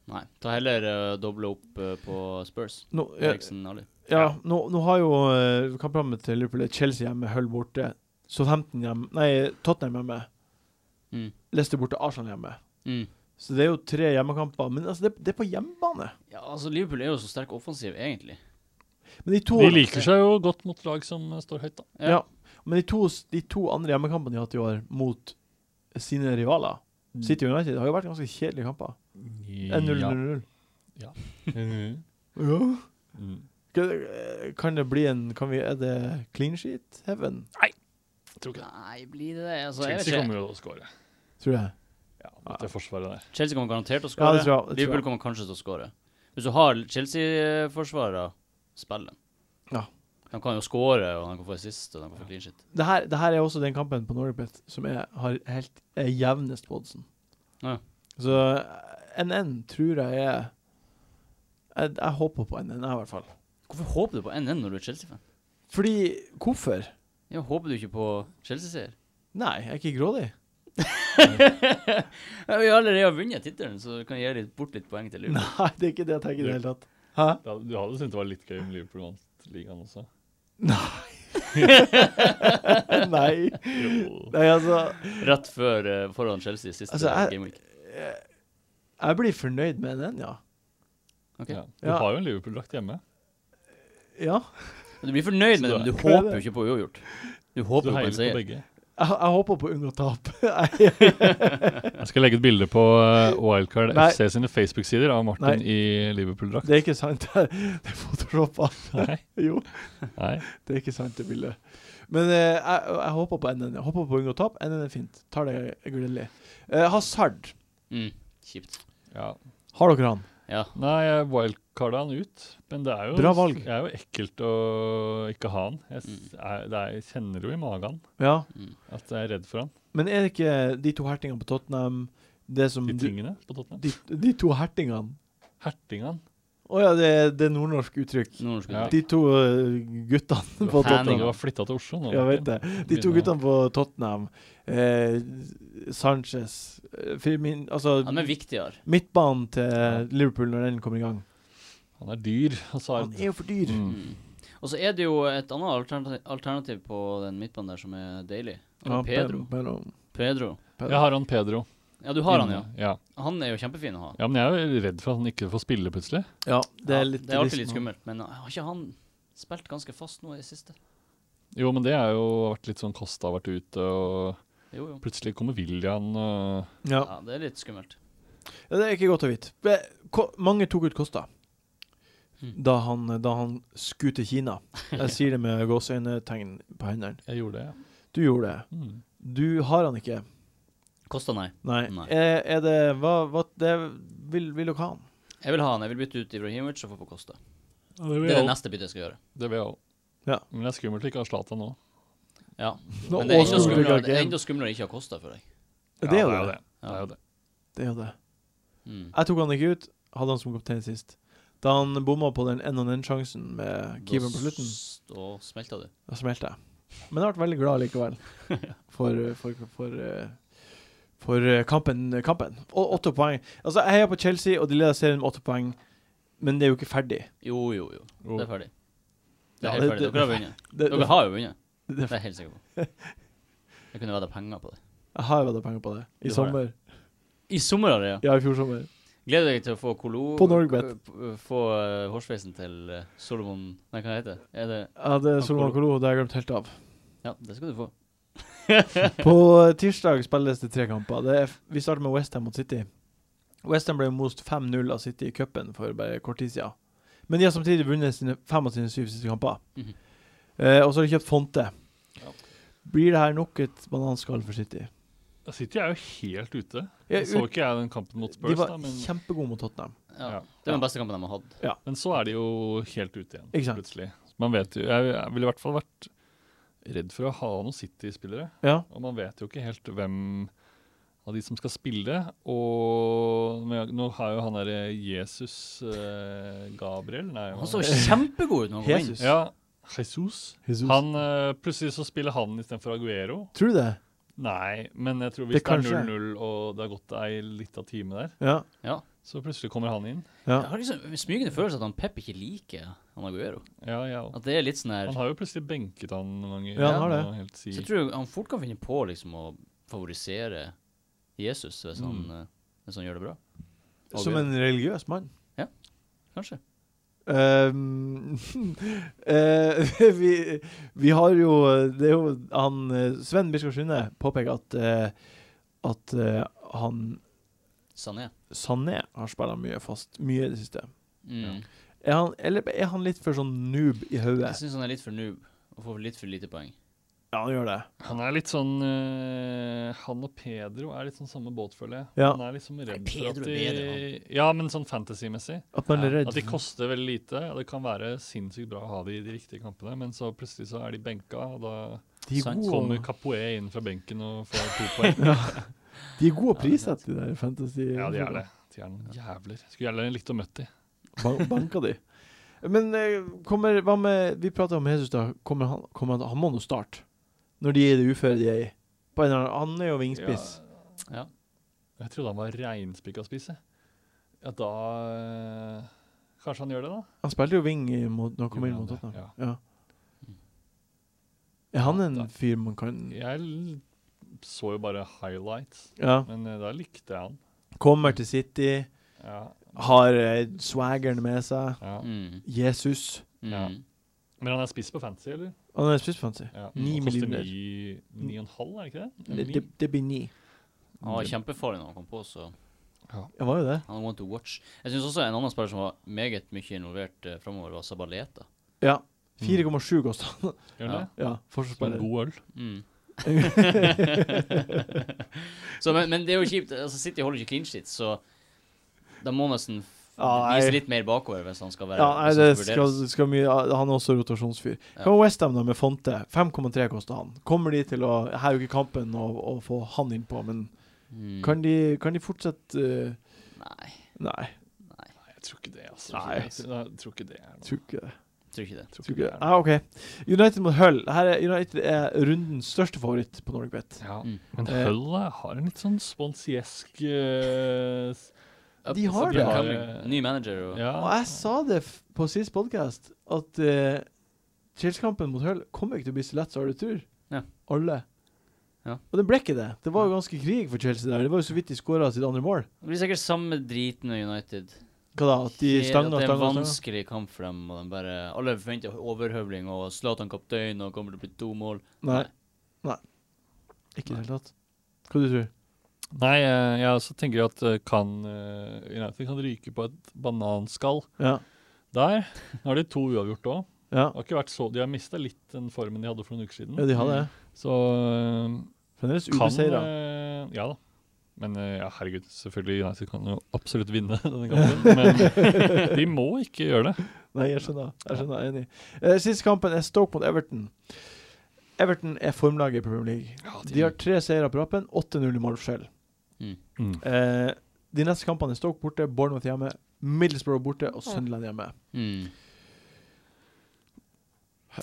B: Nei. Ta heller eh, doble opp eh, på Spurs.
A: Nå, ja,
B: Eriksen Ali.
A: Ja, nå, nå har jo eh, kampprogrammet til Liverpool er Chelsea hjemme, Hull borte, Southampton hjemme, nei, Tottenham hjemme,
B: Mm.
A: Leicester borte, Arsenal hjemme.
B: Mm.
A: Så det er jo tre hjemmekamper. Men altså, det, det er på hjemmebane.
B: Ja, altså Liverpool er jo så sterk offensiv, egentlig.
A: Men de to,
D: De liker seg jo godt mot lag som eh, står høyt, da.
A: ja. men de to, de to andre hjemmekampene de har hatt i år mot sine rivaler,
D: Mm.
A: City United, har jo vært ganske kjedelige kamper. 1-0-0-0.
D: Mhm.
A: Ja.
D: Mm.
A: Kan- eh, Kan det bli en kan vi, Er det clean sheet heaven?
D: Tror ikke det.
B: Nei, blir det det? Altså, jeg vet
D: Chelsea
B: ikke.
D: kommer jo til å skåre.
A: Tror jeg.
D: Ja, mot det forsvaret der.
B: Chelsea kommer garantert til å
A: Ja,
B: skåre.
A: det tror jeg. Det tror
B: Liverpool
A: jeg.
B: kommer kanskje til å skåre. Hvis du har Chelsea-forsvarere, spiller de.
A: Ja.
B: De kan jo skåre, og de kan få assist, og de kan få clean shit.
A: Det her, det her er også den kampen på Norwegian som er, har helt, er jevnest på oddsen.
B: Ja.
A: Så eh, NN tror jeg er Jeg, jeg håper på NN, jeg, i hvert fall.
B: Hvorfor håper du på 1-1 når du er Chelsea-fan?
A: Fordi Hvorfor?
B: Ja, Håper du ikke på Chelsea-seier? (laughs)
A: Nei, jeg er ikke grådig.
B: Ja, Vi har allerede vunnet tittelen, så du kan gi litt bort litt poeng til Liverpool.
A: Nei, det er ikke det jeg tenker i det hele tatt. Hæ?
D: Ja, Du hadde syntes det var litt gøy om Liverpool vant ligaen også?
A: (laughs) Nei.
D: Jo.
A: Nei, altså
B: Rett før eh, foran Chelsea siste
A: Altså, jeg-
B: gameweek.
A: Jeg blir fornøyd med NN, ja.
B: Ok.
D: Ja. Du
A: Ja.
D: har jo en Liverpool-drakt hjemme.
A: Ja.
B: Men Du blir fornøyd med det, men du
A: Hva er
B: håper jo ikke på uavgjort. Du håper
D: Så
B: jo på
D: heier
B: en
D: du på
B: seier.
D: begge.
A: Jeg, jeg håper på å unngå tap. (laughs)
D: Jeg skal legge et bilde på eh, Wildcard
A: Nei.
D: FC sine Facebook-sider av Martin
A: Nei.
D: i Liverpool-drakt.
A: det er ikke sant. Det er photoshoppa.
D: Nei.
A: (laughs) Jo,
D: Nei.
A: det er ikke sant, det bildet. Men eh, jeg, jeg håper på NN. Jeg håper på å unngå tap. NN er fint. Tar det gledelig. Eh, Hazard.
B: Mm, kjipt.
D: Ja.
A: Har dere han?
B: Ja.
D: Nei, jeg wildcarda han ut. Men det er jo
A: Bra valg.
D: Det er jo ekkelt å ikke ha han. Jeg, s- er, det er, jeg kjenner jo i magen
A: Ja.
B: Mm.
D: at jeg er redd for han.
A: Men er det ikke de to hertingene på Tottenham det som
D: De
A: du-
D: tingene på Tottenham.
A: de, de to hertingene
D: Hertingene.
A: Å ja, det, det er nordnorsk uttrykk.
B: Nå skal
D: Ja.
B: du
A: De to eh, guttene på
B: Herning.
A: Tottenham.
D: Du har flytta til Oslo nå.
A: Ja,
D: Martin.
A: vet det. De to
D: Begynner-
A: guttene på Tottenham, eh, Sanchez eh, Firmin, Altså
B: Han er viktigere.
A: midtbanen til Liverpool når den kommer i gang.
D: Han er dyr.
A: Han
D: Hazard.
A: er jo for dyr.
D: Mm.
B: Mm. Og så er det jo et annet alternativ, alternativ på den midtbanen der som er deilig.
A: Ja,
B: Og Pedro.
A: Pe- Pedro.
B: Pedro.
A: Pedro.
D: Jeg har han Pedro.
B: Ja, du har han, ja.
D: ja.
B: Han er jo kjempefin å ha.
D: Mm. Ja, men jeg er jo redd for at han ikke får spille plutselig.
A: Ja, det
B: Ja,
A: er litt
B: det er alltid litt
A: trist nå.
B: skummelt, men har ikke han spilt ganske fast nå i det siste?
D: Jo, men det er jo vært litt sånn Kosta har vært ute, og
B: Jo, jo.
D: plutselig kommer William og
A: Ja.
B: Ja, det er litt skummelt.
A: ja, Det er ikke godt å vite. Men ko- Mange tok ut Kosta
B: Mm.
A: da han, da han skulle til Kina. Jeg sier det med gåseøynetegn på hendene.
D: Jeg gjorde det, ja.
A: Du gjorde det.
D: Mm.
A: Du har han ikke.
B: Kosta nei.
A: Nei.
B: Nei.
A: Er, er det Hva, hva det, vil, vil dere ha han?
B: Jeg vil ha han. Jeg vil bytte ut Ibrahimovic og få på Kosta.
D: det
B: Det er det neste byttet jeg skal gjøre.
D: Det vil jeg òg.
A: Ja.
D: Men det er skummelt å ikke ha Zlatan nå.
B: Ja.
A: Nå
B: Men det er
A: åpner
B: enda
A: du
B: skumlere, det er
A: ikke.
B: enda skumlere å ikke ha Kosta for deg.
A: Ja, det er jo
D: Ja,
A: det.
D: Det er jo det.
A: Det er jo det.
B: Mm.
A: Jeg tok han ikke ut. Hadde han som kaptein sist. Da han bomma på den en og den sjansen med keeperen på slutten,
B: Da smelta du.
A: da smelte jeg. Men jeg ble veldig glad
B: (laughs)
A: likevel. For, for, for, eh, for eh, kampen. kampen. Og åtte poeng. Altså, jeg heier på Chelsea, og de leder serien med åtte poeng, men det er jo ikke ferdig.
B: Jo, jo, jo.
D: Oh.
B: Det er ferdig. Det
A: Ja,
B: er helt
A: det-
B: ferdig. Dere har vunnet.
A: Det,
B: Dere
A: det,
B: har jo vunnet.
A: det-
B: Det er jeg helt sikker på. Jeg kunne vedda penger på det.
A: jeg har vedda penger på det. I
B: Du har
A: sommer.
B: I sommer har det, ja.
A: Ja, i fjor sommer.
B: Gleder deg til å få kolo...
A: På Norgebet.
B: k- p- Få eh, hårsveisen til eh, Solomon Nei, hva heter det? Er det
A: Ja, det er Solomon
B: Akkurat.
A: Kolo, det har jeg glemt helt av.
B: Ja, det skal du få.
D: (laughs)
A: På tirsdag spilles det tre kamper. Det er, vi starter med Westham mot City. Westham ble most 5-0 av City i cupen for bare kort tid siden. Men de har samtidig vunnet sine fem av sine syv siste kamper.
B: Mhm.
A: eh, og så har de kjøpt Fonte.
B: Ja.
A: Blir det her nok et bananskall for City?
D: Da sitter jeg jo helt ute.
A: Ja,
D: Så
A: ut,
D: ikke jeg den kampen mot
A: de
D: Spurs,
A: var
D: da, men,
A: kjempegode mot Tottenham.
B: Ja.
D: Ja.
B: Det var den beste kampen de har hatt.
D: men så er de jo helt ute igjen,
A: Ikke sant.
D: plutselig. Man vet jo, jeg, jeg ville i hvert fall vært redd for å ha noen City-spillere.
A: Ja.
D: Og man vet jo ikke helt hvem av de som skal spille. Og men jeg- nå har jo han derre Jesus eh, Gabriel Nei, hva-
B: Han så kjempegod ut når han kom inn.
A: Jesus.
D: Ja, Jesus.
A: Jesus.
D: Han, eh, plutselig så spiller han istedenfor Aguero.
A: Tror du det?
D: Nei, men jeg tror hvis
A: Det
D: det, er
A: kanskje.
D: 0-0 og det har gått ei lita time der,
A: Ja.
B: Ja.
D: så plutselig kommer han inn.
B: Jeg har liksom en smygende følelse at han Pep ikke liker han Aguero.
D: Ja, jeg òg.
B: At det er litt sånn her
D: Han har jo plutselig benket han noen ganger.
A: Ja, han har det.
D: må jeg Helt si.
B: Så jeg tror han fort kan finne på liksom å favorisere Jesus hvis han eh, mens han gjør det bra. Og
A: Som
B: gøy.
A: en religiøs mann.
B: Kanskje.
A: Ehm, (laughs) eh, vi, vi har jo Det er jo han eh, Sven Biskar Sunde påpeker at eh, At eh, han
B: Sané.
A: Sané har spilt mye fast Mye i det siste.
B: Mm.
A: Er han, eller er han litt for sånn noob i hodet?
B: Jeg syns han er litt for noob og får litt for lite poeng.
A: Ja, han gjør det.
D: Han er litt sånn eh, Han og Pedro er litt sånn samme båt, føler jeg.
A: Ja.
D: Han er litt sånn redd
B: Pedro
D: for at
B: er
D: de
B: bedre,
D: Ja, men sånn fantasy-messig.
A: At man
B: Ja,
A: er redd.
D: At de koster veldig lite. og Det kan være sinnssykt bra å ha de i de riktige kampene, men så plutselig så er de benka, og da
A: de, er
B: sant,
A: gode,
D: kommer Capoe inn fra benken og får to poeng.
A: de er gode
B: Ja,
A: priser til de der fantasy.
D: Ja, de er det. De er noen jævler. Skulle gjerne likt å møte de.
A: Ban banka de. Men eh, kommer, hva med Vi prater om Jesus, da. Kommer han, kommer han, han må nå starte. Når de er i det uføre de er i. På en eller annen, han er jo vingspiss.
B: Ja.
D: Jeg trodde han var reinspikka spiss, jeg. Ja, da eh, Kanskje han gjør det, da?
A: Han spilte jo wing i mot, når han kom
D: Gjorde
A: inn
D: han
A: mot
D: det?
A: Tottenham. Ja. Er han en
D: Da-
A: fyr man kan
D: Jeg l- så jo bare highlights,
A: Ja.
D: men eh, da likte jeg han.
A: Kommer til City,
D: Ja,
A: har eh, swaggeren med seg.
D: ja.
B: Mm.
A: Jesus.
B: Mm.
D: Ja. Men han er spiss på fancy, eller?
A: Han er spissfancy.
D: Ja.
A: Ni
D: han koster
A: millioner.
D: Ni, ni og en halv, er det ikke det?
A: Det,
D: Ni?
A: det, det blir ni.
B: Han var kjempefarlig når han kom på, så
A: Det var jo det.
B: han er one to watch. Jeg syns også en annen spiller som var meget mye involvert uh, framover, var Sabaleta.
A: Ja. 4,7 kosta han.
D: Gjør han det?
A: Mm. Ja,
D: Som en
A: forsvarsspiller.
D: god øl.
A: (laughs)
B: Mm. så, men, men det er jo kjipt. Altså, City holder ikke clean shit, så da må han nesten f-
A: Ja, nei.
B: vise litt mer bakover hvis han skal være
A: Ja, nei,
B: hvis
A: det
B: han
A: skal,
B: vurderes.
A: skal mye ja, Han er også rotasjonsfyr.
B: Ja.
A: Hva med Westham da med Fonte? 5,3 koster han. Kommer de til å Her er jo ikke kampen å, å få han innpå, men
B: Mm.
A: kan, de, kan de fortsette eh,
B: Nei,
A: Nei,
D: Nei, jeg tror ikke det, altså.
A: Nei.
D: Jeg tror, jeg tror ikke det er noe.
A: tror ikke det.
B: tror ikke det.
D: Tror
A: Tror
D: ikke det er noe.
A: Ah, OK. United mot Hull. Her er United er rundens største favoritt på NorgBet.
D: Ja.
B: Mm.
D: Men
A: Eh.
D: Hull eh, har en litt sånn sponsiesk eh, s-
A: De
B: altså,
A: har
D: det.
B: Upcoming. Ny manager og
D: eh, Ja.
A: Og jeg sa det f på sist podkast, at uh, Chelsea-kampen mot Hull kommer ikke til å bli så lett som alle tror.
B: Ja.
A: Alle.
B: Ja.
A: Og det ble ikke det. Det var jo ganske krig for Chelsea der. Det var jo så vidt de skåra sitt andre mål.
B: Det blir sikkert samme driten med United.
A: Hva da? At de
B: Helt-
A: stanga
B: at
A: og
B: det er en
A: stanga?
B: vanskelig kamp for dem. Og de bare, alle forventer overhøvling og Zlatan kaptein og kommer til å bli to mål.
A: Nei. Nei. Ikke i det hele tatt. Hva du tror du?
D: Nei, eh, jeg også tenker at eh, kan eh, United kan ryke på et bananskall
A: Ja.
D: der. Nå har de to uavgjort òg.
A: Ja.
D: De har mista litt den formen de hadde for noen uker siden.
A: ja, de har det.
D: Så eh,
A: Fremdeles
D: kan
A: ubeseira.
D: eh, Ja da. Men eh, ja, herregud, selvfølgelig United kan jo absolutt vinne (laughs) denne kampen.
A: (laughs)
D: Men de må ikke gjøre det.
A: Nei, jeg skjønner. Jeg skjønner, jeg er enig. Eh, siste kampen er Stoke mot Everton. Everton er formlaget i Premier League. De har tre seire på rappen, 8-0 i målforskjell.
B: Mm.
D: Mm.
A: Eh, de neste kampene er Stoke borte, Bournemouth hjemme, Middlesbrough borte og Sunderland hjemme.
B: Mm.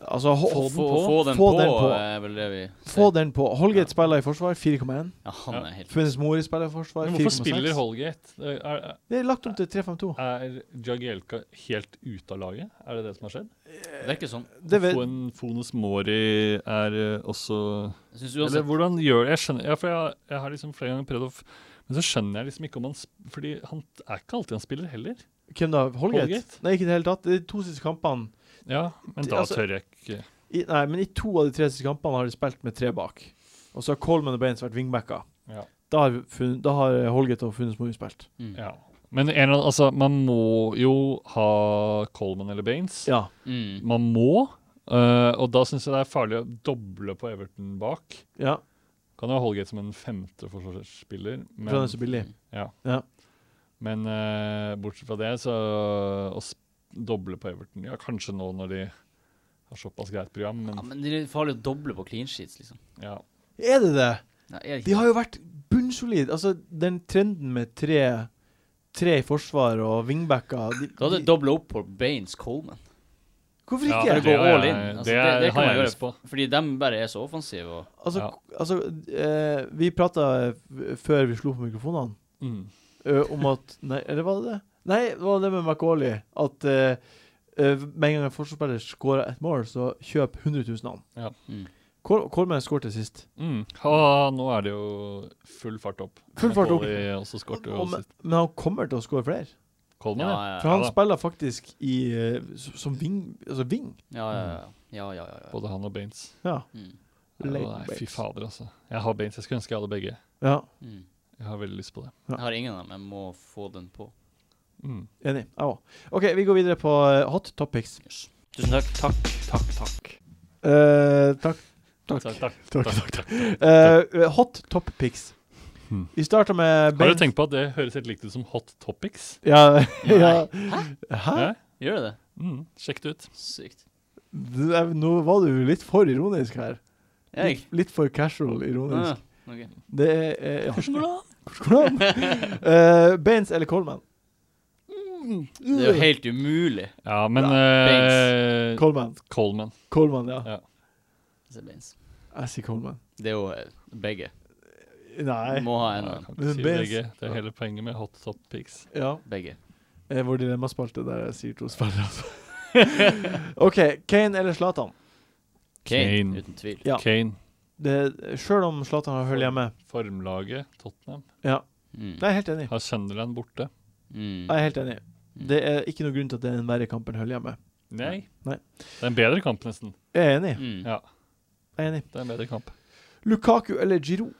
A: Altså, ho-
B: Få,
A: få,
B: få, få den på, eh, er vel det vi
A: Få den på. Holgate spiller i forsvar, 4,1.
B: Ja, han
D: Ja.
B: er helt
A: Finnes Mori spiller i forsvar,
D: Men
A: 4,6.
D: hvorfor spiller Holgate? Eh, Er,
A: Det er lagt om til 3-5-2.
D: er Jagielka helt ute av laget? Er det det som har skjedd?
B: Virker sånn.
A: Det vet-
D: Få en Fones Mori er eh, også
B: Jeg synes
D: Eller
B: uansett
D: hvordan gjør Jeg skjønner ja, for jeg, jeg har liksom flere ganger prøvd å f- Men så skjønner jeg liksom ikke om han sp- Fordi han er ikke alltid han spiller heller.
A: Hvem da? Holgate?
D: Holgate?
A: Nei, ikke i det hele tatt. De to siste kampene
D: Ja, men
A: Det-
D: da
A: altså-
D: tør jeg ikke
A: i, Nei, men i to av de tre siste kampene har de spilt med tre bak. Og så har Coleman og Baines vært wingbacka.
D: Ja.
A: Da har, funn- da har eh, Holgate og Funnes Mori spilt.
B: mm.
D: ja. Men en, eller annen- altså, man må jo ha Coleman eller Baines.
A: Ja.
B: Mm.
D: Man må. eh, og da syns jeg det er farlig å doble på Everton bak.
A: ja.
D: Kan jo ha Holgate som en femte forsvarsspiller,
A: For han
D: men
A: er så billig.
D: Ja.
A: Ja.
D: Men eh, bortsett fra det, så å sp- doble på Everton Ja, kanskje nå når de har såpass greit program,
B: Ja,
D: men
B: men det er farlig å doble på clean sheets, liksom.
D: ja.
A: Er det det?
B: Nei, er det
A: De
B: ikke
A: har jo vært bunnsolid. Altså, den trenden med tre Tre i forsvar og wingbacker de,
B: Da hadde jeg
A: de-
B: dobla opp på Baines Coleman.
A: Hvorfor
D: Ja,
A: ikke?
B: Bare
D: det
B: gå
D: er-
B: all in. Altså,
D: det
B: det,
D: er-
B: det
D: har
B: kan man
D: jeg
B: gjøre.
D: lyst på.
B: Fordi de bare er så offensive. Og,
A: Altså,
D: Ja.
A: altså eh, Vi prata eh, før vi slo på mikrofonene.
D: Mm.
A: Ø, Eh, om at Nei, eller var det det? Nei, det var det med Macauley. At eh, ø, med en gang en forsvarsspiller scorer et mål, så kjøp 100 000 av ham.
D: Ja.
B: Mm.
A: Kol- Kolmen skåret sist.
D: Mm. Ha, nå er det jo full fart opp.
A: Full fart opp.
D: Napoli også skårte jo
A: Og- men,
D: sist.
A: men han kommer til å skåre flere.
D: Coleman, ja.
B: Ja,
A: For
B: ja,
A: han
D: da.
A: spiller faktisk i eh, s- som ving. Altså ving.
B: ja. ja, ja, ja, ja, ja.
D: Både han og Baines.
A: Ja.
B: Mm.
D: Ja,
A: Leighton
D: Nei, fy
A: Baines.
D: fader, altså. Jeg har Baines. Jeg skulle ønske jeg hadde begge.
A: ja.
B: Mm.
D: Jeg har veldig lyst på det.
B: Jeg har ingen av dem. Jeg må få den på.
D: Mm.
A: Enig. Jeg òg. OK, vi går videre på eh, hot topics.
B: Yes. Tusen takk. Takk. Takk, takk.
A: Eh, takk.
D: Takk, takk.
A: (laughs) Takk, Eh, hot top pics.
D: Hmm.
A: Vi starter med
D: Har
A: Baines.
D: du tenkt på at det høres helt likt ut som Hot Topics?
A: Ja, (laughs) ja. Hæ?
D: Ja?
B: Gjør det det?
D: Mm. Sjekk det ut.
B: Sykt.
A: Du, jeg- Nå var du litt for ironisk her.
B: Jeg?
A: Litt, litt for casual ironisk.
B: Ah, ok.
A: Det er eh, ja.
B: Hvordan går det an?
A: Hvordan?
B: (laughs)
A: Eh, Baines eller Coleman?
B: Det er jo helt umulig.
D: Ja, men eh,
A: Coleman.
D: Coleman.
A: Coleman, ja.
D: Ja.
B: Det er Baines.
A: Jeg sier Coleman.
B: Det er jo eh, begge.
A: Nei.
B: Må ha en
D: Ja,
B: av
D: jeg
B: dem.
D: kan
A: Men
D: ikke si
A: Baines-
D: begge. Det
A: Ja.
D: er hele poenget med Hot Topics.
A: Ja.
B: Begge.
A: Eh, vår dilemmaspalte der jeg sier to spillere,
B: (laughs)
A: altså. OK. Kane eller Zlatan?
B: Kane,
D: Kane.
B: uten tvil.
A: Ja.
D: Kane.
A: Det- Sjøl om Zlatan har hull hjemme.
D: Formlaget Tottenham
A: Ja.
B: Mm.
A: Jeg er helt enig.
D: har Sunderland borte.
B: Mm.
A: Jeg er helt enig. Det er ikke noen grunn til at det er en verre kamp enn hull hjemme.
D: Nei.
A: Nei.
D: Det er en bedre kamp, nesten.
A: Jeg er enig.
B: Mm.
D: Ja,
A: Jeg er enig.
D: det er en bedre kamp.
A: Lukaku eller Giroud?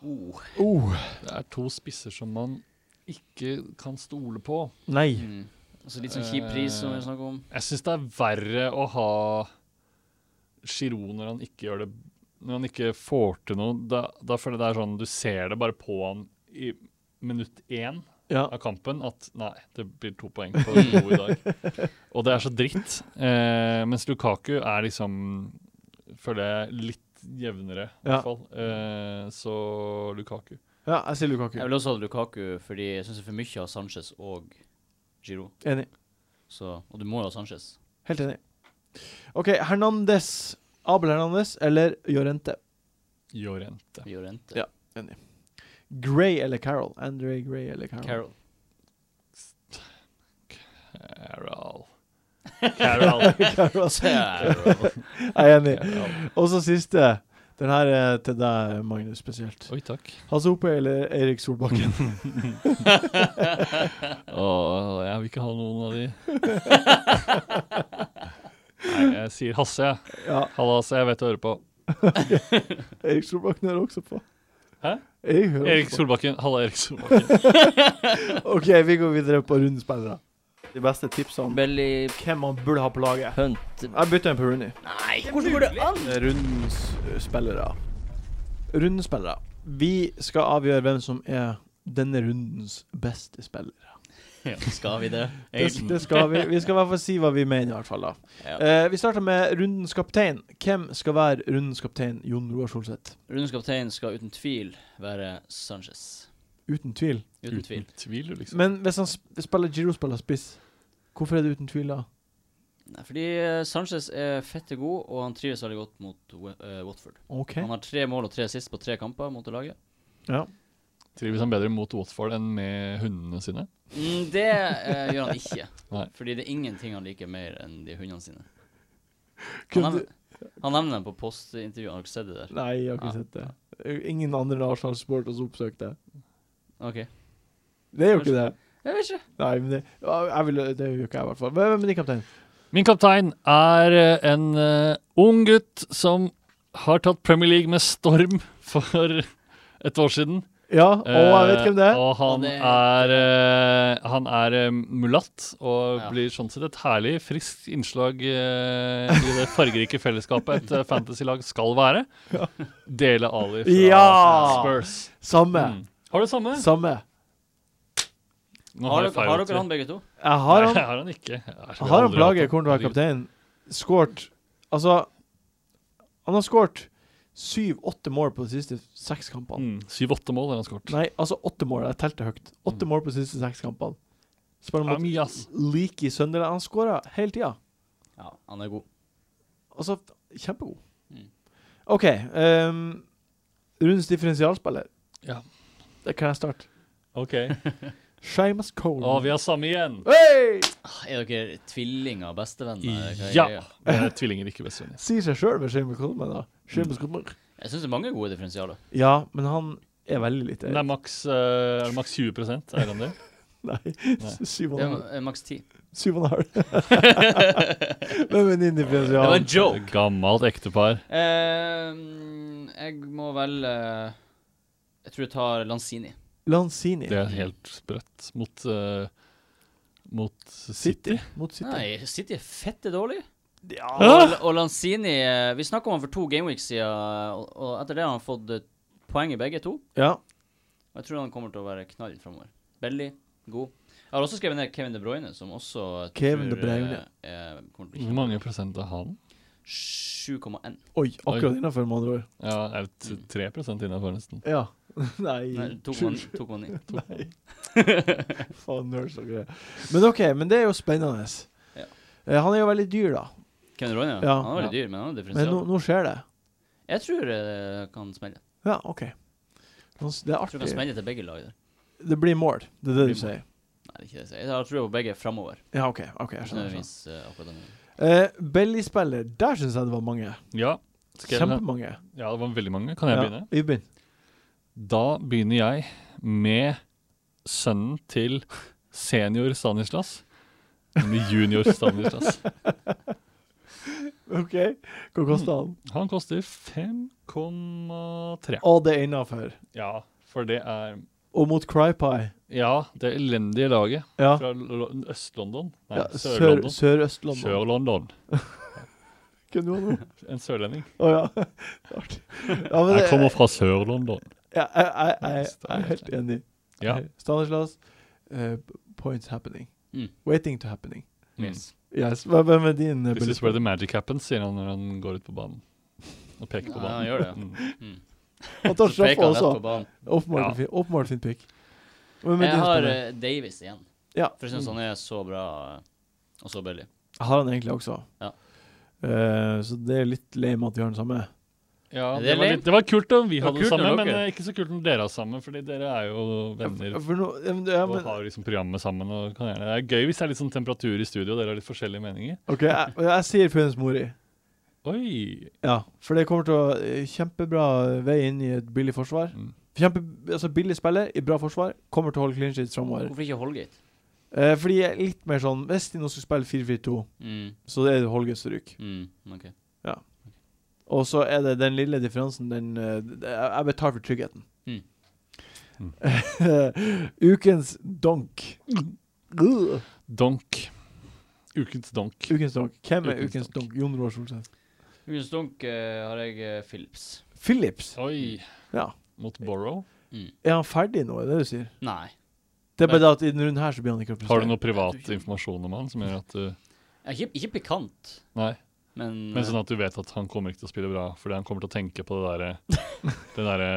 B: Oh.
A: Oh.
D: Det er to spisser som man ikke kan stole på.
A: Nei.
B: Mm. Altså litt sånn kjip pris som vi snakker om.
D: Jeg syns det er verre å ha Giroud når han ikke gjør det Når han ikke får til noe. Da, da føler jeg det er sånn Du ser det bare på han i minutt én
A: Ja.
D: (laughs) av kampen at nei, det blir to poeng på Giroud i dag. Og det er så dritt. Eh, mens Lukaku er liksom Føler jeg litt jevnere, i
A: Ja.
D: hvert fall. Eh, så Lukaku.
A: ja, jeg sier Lukaku.
B: Jeg vil også ha Lukaku, fordi jeg syns det er for mye av Sanchez og Giroud.
A: Enig.
B: Så, og du må jo ha Sanchez.
A: Helt enig. OK, Hernandez. Abel Hernandez eller Jorente?
D: Jorente.
B: Jorente.
A: Ja. Gray eller Carol? Andre Gray eller Carol?
B: Carol.
D: Carol.
B: (laughs)
A: (laughs)
D: Carol.
A: Carol.
B: Carol.
A: Jeg er enig. Og så siste. Den her er til deg, Magnus, spesielt.
D: Oi, takk.
A: Hasse Hope eller Erik
D: (laughs)
A: Solbakken?
D: Åh, jeg vil ikke ha noen av de. Nei, jeg sier Hasse, jeg.
A: ja,
D: Halla, Hasse, jeg vet du hører på.
A: Erik Solbakken hører også på.
D: Hæ?
A: Erik hører
D: Erik
A: også på.
D: Solbakken. Halla, Erik Solbakken.
A: OK, vi går videre på rundens spillere. De beste tipsene
B: Belly
A: hvem man burde ha på laget.
B: Hunt.
A: Jeg bytter en på Rooney.
B: Nei, hvordan går det an?
A: Rundens eh, spillere. Rundens spillere. Vi skal avgjøre hvem som er denne rundens beste spillere.
B: Skal vi det?
A: Det, det skal vi. Vi skal i hvert fall si hva vi mener, i hvert fall. da.
B: Ja.
A: Eh, vi starter med rundens kaptein. Hvem skal være rundens kaptein? Jon Roar Solseth.
B: Rundens kaptein skal uten tvil være Sanchez.
A: Uten tvil.
B: Uten
D: Mm-hmm.
B: tvil.
D: Tvil, jo, liksom.
A: Men hvis han sp spiller Giro spiller spiss, hvorfor er det uten tvil da?
B: Nei, fordi eh, Sanchez er fette god, og han trives veldig godt mot Wa- eh, Watford.
A: OK.
B: Han har tre mål og tre sist på tre kamper mot det laget.
A: Ja.
D: Trives han bedre mot Watford enn med hundene sine?
B: Mm, det eh, gjør han ikke.
D: (laughs) Nei.
B: Fordi det er ingenting han liker mer enn de hundene sine. Han
A: Kunne-
B: nevner, han nevner dem på postintervjuet. Har dere sett det der?
A: Nei, jeg har ikke
B: Ja.
A: sett det. Ingen andre enn Arsenal Sport har oppsøkt det.
B: OK.
A: Det gjør ikke det.
B: Jeg vet ikke.
A: Nei, men det, ja, jeg vil, det gjør ikke jeg, i hvert fall. Hvem hvem er din kaptein?
D: Min kaptein er eh, en eh, ung gutt som har tatt Premier League med storm (laughs) for et år siden.
A: Ja, og jeg vet
D: Eh,
A: hvem det er.
D: Og
B: Og
D: han
B: det-
D: er, eh, han er eh, mulatt og
B: Ja.
D: blir sånn sett et herlig, friskt innslag eh, i det fargerike fellesskapet et eh, fantasylag skal være.
A: (laughs)
D: Dele Ali fra
A: Ja!
D: Spurs.
A: Samme.
D: Mm. Har du samme?
A: Samme.
D: Nå
B: Har
D: jeg
B: dere,
D: feiret
B: har dere
D: det.
B: han begge to?
A: Jeg har
D: (laughs) Nei,
A: han,
D: jeg har han ikke. Jeg har
A: jeg har han
D: aldri
A: plaget
D: hatt
A: hvordan du er kaptein. Skåret Altså, han har skåret syv-åtte mål på de siste seks kampene.
D: Mm. Syv-åtte mål har han skåret.
A: Nei, altså åtte mål. Jeg telte høyt. Åtte mål på de siste seks kampene. Spiller
D: Ja,
A: mot
D: mye, ass.
A: Leaky Sunderland. Han skåra hele tida.
B: Ja, han er god.
A: Altså, kjempegod.
B: Mm.
A: OK. ehm, rundens differensialspiller.
D: Ja.
A: Det kan jeg starte.
D: OK.
A: Shamas Cole.
D: Å, vi har samme igjen!
A: Hey!
B: Er dere tvillinger og bestevenner? eller hva er
D: Ja!
B: greia?
D: Vi er tvillinger, ikke bestevenner.
A: Sier seg sjøl med Shamas Coleman, da. Seamus Coleman.
B: Jeg syns det er mange gode differensialer.
A: Ja, men han er veldig lite
D: Det er maks, eh, er det maks 20 eierandel.
A: Nei, (laughs) syv og
B: Det
A: en
B: er
A: halv.
B: eh, maks ti.
A: Syv og en halv. Hvem er din
B: Det var
A: differensial?
B: en
D: Oh.
B: joke.
D: Gammelt ektepar.
B: Eh, jeg må velge Jeg tror jeg tar Lanzini.
A: Lanzini.
D: Det er helt sprøtt mot, eh, mot City.
A: altså City mot City.
B: Nei, City er fette dårlig.
A: Ja.
B: Og,
D: Hæ?
B: og Lanzini eh, Vi snakka om han for to gameweeks siden, og, og etter det har han fått eh, poeng i begge to.
A: ja.
B: Og jeg tror han kommer til å være knall framover. Belly, god. Jeg har også skrevet ned Kevin De Bruyne, som også eh, jeg
A: Kevin De
B: tror,
A: Bruyne.
B: eh, er- kommer til å bli
D: Hvor mange prosent er han?
B: kjempe- 7,1.
A: Oi, akkurat
D: Oi.
A: innafor, med andre ord.
D: Ja, er det t- 3 innafor, nesten.
A: Ja. (laughs)
B: Nei,
A: Nei,
B: 2,9. 2,9.
A: Nei. (laughs) Faen, nerds og greier. Men OK, men det er jo spennende.
B: Ja.
A: Eh, han er jo veldig dyr, da.
B: Kevin De Bruyne,
A: Ja.
B: han er veldig
D: Ja.
B: dyr, men han er
A: Men nå,
B: differensial.
A: nå skjer det.
B: Jeg tror eh, kan smelle.
A: Ja, OK. Han s- Det er
B: Jeg tror kan
A: artig.
B: smelle til begge lag der.
A: Det blir mål. Det er det
D: blir
A: du sier.
B: Nei, det er ikke det jeg sier. Jeg har trua på begge framover.
A: Ja, sånn, OK. ok, jeg skjønner. jeg skjønner.
B: Nødvendigvis eh, akkurat den.
A: Eh, Belly-spiller, der syns jeg det var mange.
D: Ja. Skal jeg begynne?
A: Kjempemange.
D: ja, det var veldig mange. Kan jeg begynne?
A: Ja, vi begynner.
D: Da begynner jeg med sønnen til senior Stanislas. Nemlig junior (laughs) Stanislas.
A: OK. Hva kosta han?
D: Han koster 5,3.
A: Og det er innafor.
D: Ja, for det er
A: Og mot Crypie.
D: Ja, det elendige laget
A: Ja.
D: fra Lo- Lo- Øst-London. Nei,
A: ja sør-
D: Sør-London.
A: Sør-Øst-London.
D: Sør-London.
A: Hvem var det?
D: en sørlending.
A: Å ja. (laughs) Artig. Ja, men
D: Jeg
A: det-
D: kommer fra Sør-London.
A: Ja, jeg, jeg, jeg, jeg er helt
D: Stanislas.
A: enig.
D: Ja.
A: Stanislas, eh, points happening.
B: Mm.
A: Waiting to happening.
D: Mm.
B: Yes.
A: Yes, hva- Hvem er din? eh,
D: This
A: bullet
D: is where
A: point?
D: the magic happens, sier han når han går ut på banen. Og peker på
B: Ja, han
D: banen.
B: gjør det, ja.
D: Mm.
B: Mm.
A: Han
D: (laughs)
A: tar
B: Så
A: straffe
B: peker han rett
A: også.
B: på banen.
A: Åpenbart
D: Ja.
A: fin- Åpenbart fint pick. Hvem er
B: Jeg
A: din
B: har
A: spiller?
B: eh, Davis igjen.
A: Ja.
B: For jeg syns han er så bra eh, og så billig.
A: Har han egentlig også.
B: Ja.
A: Eh, så det er litt lame at vi har den samme.
D: Ja,
B: Er det
D: det, var
B: lame?
D: litt, det var kult om vi
B: Det var
D: hadde
B: kult
D: det samme,
B: når
D: men
B: dere-
D: eh, ikke så kult om dere har sammen, fordi dere er jo venner
A: Ja, For nå, ja, men, ja,
D: og
A: men,
D: har liksom programmet sammen. Og kan gjerne. Det er gøy hvis det er litt sånn temperatur i studio og dere har litt forskjellige meninger.
A: OK, jeg, jeg sier Pønens Mori.
D: Oi!
A: Ja, for det kommer til å eh, Kjempebra vei inn i et billig forsvar.
D: Mm.
A: Kjempe, altså Billig spiller i bra forsvar kommer til å holde clean sheets framover.
B: Hvorfor ikke Holgate?
A: Eh, fordi jeg er litt mer sånn Hvis de nå skal spille 4-4-2,
B: Mm.
A: så er det Holger som ryker.
B: Mm. ok.
A: Og så er det den lille differansen den eh, det- Jeg jeg betaler for tryggheten.
B: Mm.
D: Mm.
A: (laughs) Ukens donk.
D: Mm.
A: Ugh.
D: Donk. Ukens donk.
A: Ukens donk. Hvem er
D: Ukens
A: ukens donk?
D: donk?
A: Jon Roar Solseth.
B: Ukens dunk eh, har jeg eh, Phillips.
A: Philips.
D: Oi!
A: Ja.
D: Mot Borrow.
B: Mm.
A: Er han ferdig nå, er det det du sier?
B: Nei.
A: Det er bare det at i denne runden her så blir han ikke å prestere.
D: Har du noe privat informasjon om han som gjør at du
B: Eh, Ikke, ikke pikant,
D: Nei.
B: men,
D: Men
B: eh,
D: sånn at du vet at han kommer ikke til å spille bra, fordi han kommer til å tenke på det derre Det derre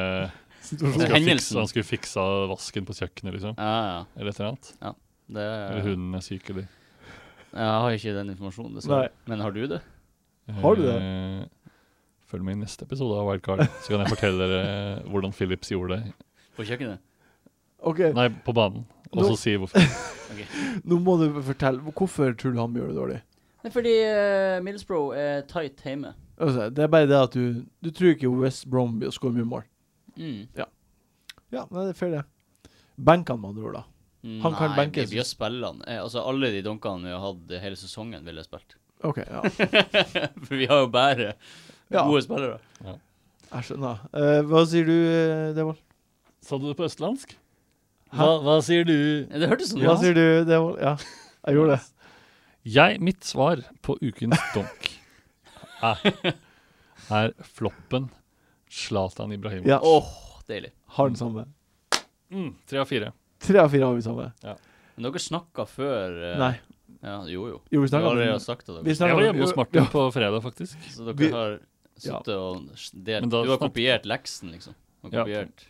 A: Situasjon.
D: han, skulle fikse-
B: hendelsen.
D: han skulle fiksa vasken på kjøkkenet, liksom.
B: ja, ja.
D: Eller et eller annet.
B: Det,
D: Eller hunden er syk, eller
B: Jeg har ikke den informasjonen, dessverre. Men har du det?
A: Har du det?
D: Eh, Følg med i neste episode av Wildcard, så kan jeg fortelle dere hvordan Philips gjorde det.
B: På kjøkkenet?
A: (laughs) OK,
D: Nei, på banen. Og
A: Eh. Nå-
D: så si hvorfor.
A: nå må du fortelle. Hvorfor tror du han gjør det dårlig?
B: Nei, fordi uh, Middlesbrough er tight hjemme.
A: Altså, det er bare det at du Du tror ikke West Brom blir å skåre mye mål.
B: Mm.
A: Ja, nei, det er fair, det. Benkene, med andre ord, da. Han kan
B: Mm, Nei,
A: benkes.
B: vi bør spille han. Eh, altså, alle de dunkene vi har hatt hele sesongen, ville jeg spilt. (laughs)
A: OK, ja.
B: For vi har jo bare
A: Ja.
B: gode spillere.
A: (laughs) Jeg skjønner. Eh, hva sier du, eh, Devold?
D: Sa du det på østlandsk?
A: Hva-
D: sier du?
B: Det hørtes sånn
A: Hva sier du, Devold? Ja, jeg gjorde det.
D: Jeg, mitt svar på ukens donk er, er floppen Zlatan Ibrahimovic.
A: Ja,
B: Åh, deilig.
A: Har den samme.
D: Mm, tre av fire.
A: Tre av fire har vi samme.
B: Men dere snakka før eh,
A: Nei.
B: Ja, jo, jo.
A: Jo, vi
B: Dere
A: snakka
B: har
A: om
B: allerede
A: den.
B: sagt det,
A: Vi
B: dere.
D: Jeg
A: snakket
D: var
A: om-
D: hjemme hos Martin på fredag, faktisk.
B: Så dere
A: vi-
B: har
A: Ja.
B: sittet og s- delt
D: Men da
B: Du har
D: snakket-
B: kopiert leksen, liksom. Og
D: Ja.
B: kopiert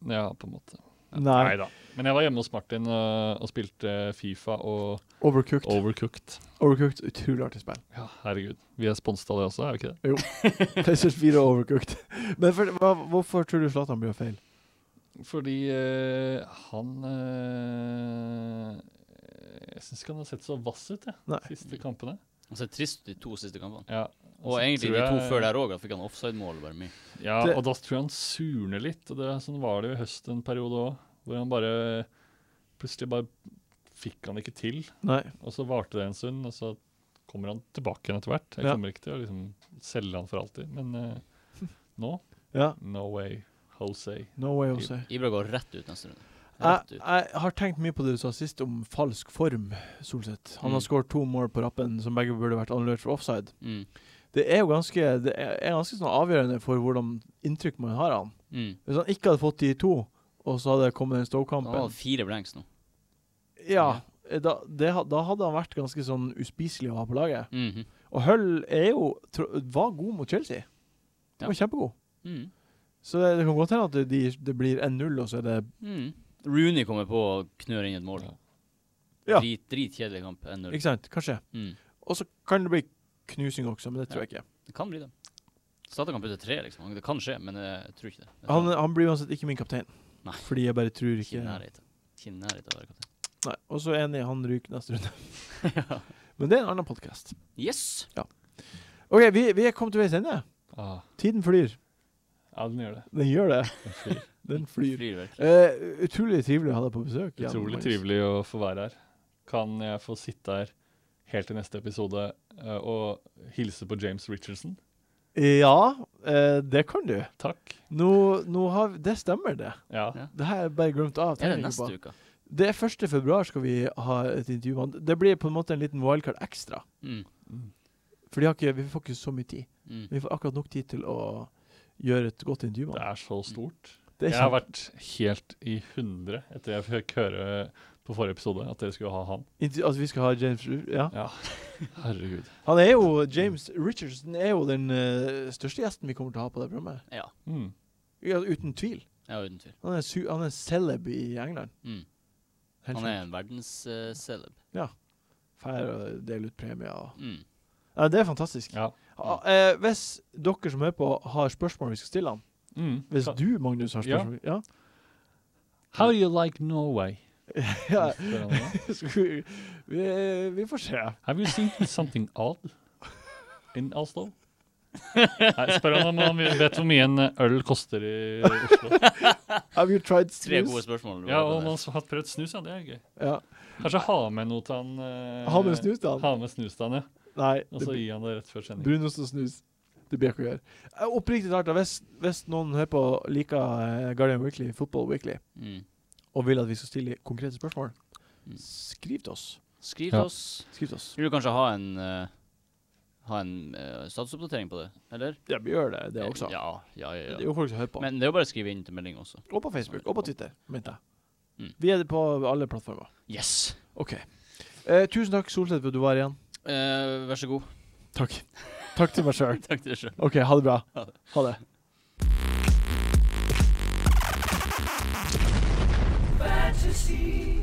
D: Ja, på en måte.
A: Nei.
D: Neida. Men jeg var hjemme hos Martin øh, og spilte Fifa og
A: Overcooked.
D: Overcooked.
A: Overcooked, Utrolig artig spill.
D: Ja, herregud. Vi er sponset av det også, er vi ikke det?
A: (laughs) PlayStation 4 og Overcooked. Men for, hva, hvorfor tror du Zlatan blir feil?
D: Fordi eh, han eh, Jeg syns ikke han har sett så vass ut, jeg,
A: Nei.
D: de siste kampene.
B: Han ser trist ut de to siste kampene.
D: Ja,
B: Og
D: så
B: egentlig
D: tror
B: de to
D: jeg-
B: før der òg. Da fikk han offside-mål. bare mye.
D: Ja,
A: Det-
D: og da tror jeg han surner litt. Og det, sånn var det jo i høst en periode òg, hvor han bare Plutselig bare fikk han ikke til,
A: Nei.
D: og så varte det en stund, og så kommer han tilbake igjen etter hvert. Jeg
A: Ja.
D: kommer ikke til å liksom selge han for alltid,
A: (laughs)
D: men eh, nå
A: Ja.
D: No way, Jose.
A: No way of say.
B: Ibra går rett ut neste runde. Rett
A: Jeg,
B: ut.
A: jeg har tenkt mye på det du sa sist om falsk form, Solseth. Han har
B: Mm.
A: skåret to mål på rappen som begge burde vært annullert for offside.
B: Mm.
A: Det er jo ganske, det er er ganske sånn avgjørende for hvordan inntrykk man har av han.
B: Mm.
A: Hvis han ikke hadde fått de to, og så hadde det kommet den
B: Han har
A: Stoke-kampen
B: fire blanks nå.
A: Ja, da, det, ha- da hadde han vært ganske sånn uspiselig å ha på laget.
B: Mhm.
A: Og Hull er jo, tro, var god mot Chelsea.
B: Ja.
A: Han var kjempegod.
B: Mhm.
A: Så det, det kan godt hende at det, de, det blir 1-0, og så er det
B: Mhm. Rooney kommer på og knør inn et mål.
A: Ja.
B: Drit, dritkjedelig kamp. 1-0.
A: Ikke sant? Kanskje.
B: Mm.
A: Og så kan det bli knusing også, men det tror jeg ikke.
B: Det kan bli det. Statakamp ut til tre, liksom. Det kan skje, men eh, jeg tror ikke det. Jeg tror
A: Han, han blir uansett ikke min kaptein.
B: Nei.
A: Fordi jeg bare tror
B: ikke
A: ikke
B: i
A: Nei.
B: nærheten. Ikke i nærheten av å være kaptein.
A: Og så enig, han ryker neste
B: (laughs)
A: runde. Men det er en annen podkast.
B: Yes!
A: OK, vi, vi er kommet til veis ende.
D: Ah,
A: Tiden flyr.
D: ja, den gjør det.
A: Den gjør det.
D: flyr.
A: (laughs) Den flyr.
B: Flyr virkelig.
A: Eh, utrolig trivelig å ha deg på besøk. Jan
D: Utrolig
A: Magnus.
D: trivelig å få være her. Kan jeg få sitte her helt til neste episode eh, og hilse på James Richardson?
A: Ja, eh, det kan du.
D: Takk.
A: Nå, nå har vi, Det stemmer, det.
D: Ja.
B: Ja.
A: Det her er bare glemt av.
B: Er
A: tenker
B: det
A: jeg
B: neste
A: på.
B: uke?
A: Det er 1. februar skal vi ha et intervju med han. Det blir på en måte en liten wildcard ekstra.
B: Mm.
A: For de har ikke, vi får ikke så mye tid.
B: Mm.
A: Vi får akkurat nok tid til å gjøre et godt intervju med
D: Det
A: han.
D: er så stort.
A: Det er
D: Jeg har
A: kjempe-
D: vært helt i hundre etter jeg fikk høre på forrige episode at dere skulle ha han.
A: Inter- Altså, vi skal ha James Ru- ja.
D: Ja, herregud.
A: Han er jo James Richardson er jo den eh, største gjesten vi kommer til å ha på det programmet.
B: Ja.
D: Mm.
A: Ja, uten tvil.
B: ja, uten tvil.
A: Han er, su han er celeb i England.
B: Mm.
A: Helt
B: Han
A: sjukt.
B: er en eh, verdensceleb.
A: Fær og deler ut premier og
B: mm.
A: ja, Det er fantastisk.
D: Ja.
A: Ha- eh, hvis dere som hører på, har spørsmål vi skal stille han
D: Mm.
A: Hvis
D: Ka-
A: du, Magnus, har
D: Ja.
A: spørsmål Ja.
D: How do you like Norway?
A: (laughs) ja.
D: Spør han da.
A: (laughs) Skal vi, vi, vi får se.
D: Have you seen something odd in
A: (laughs)
D: Oslo? Nei, spør han om han vet hvor mye en øl koster i Oslo.
A: Have you tried
B: Tre
A: snus?
B: gode spørsmål.
D: Ja, og om han har prøvd snus, ja, det er gøy.
A: Ja.
D: Kanskje ha med noe til han. eh,
A: Ha med snus, da.
D: Ha med snus til han, ja.
A: Nei.
D: Og
A: det
D: så
A: blir-
D: gi han det rett før sending.
A: Brunost og snus. Det blir ikke å gjøre. Eh, Oppriktig talt, da, hvis, hvis noen hører på liker eh, Guardian Weekly, Football Weekly,
B: Mm.
A: og vil at vi skal stille konkrete spørsmål,
B: Mm.
A: skriv til oss.
B: Skriv
D: Ja.
B: til oss.
A: Skriv til oss.
B: Vil du kanskje ha en eh, Ha en eh, statusoppdatering på det, eller?
A: Ja, vi gjør det, det også.
B: Ja, ja, ja,
A: Det er
B: ja.
A: jo folk som hører på.
B: Men det er jo bare å skrive inn til melding også.
A: og på Facebook, og på Twitter, mente jeg.
B: Mm.
A: Vi er på alle plattformer.
B: Yes!
A: OK. Eh, tusen takk, Solseth, for at du var igjen.
B: Eh, vær så god.
A: Takk. Takk til meg
B: (laughs)
A: sjøl.
B: Takk til deg sjøl.
A: OK, ha det bra.
B: Ha det.
A: Ha det.
C: fantasy.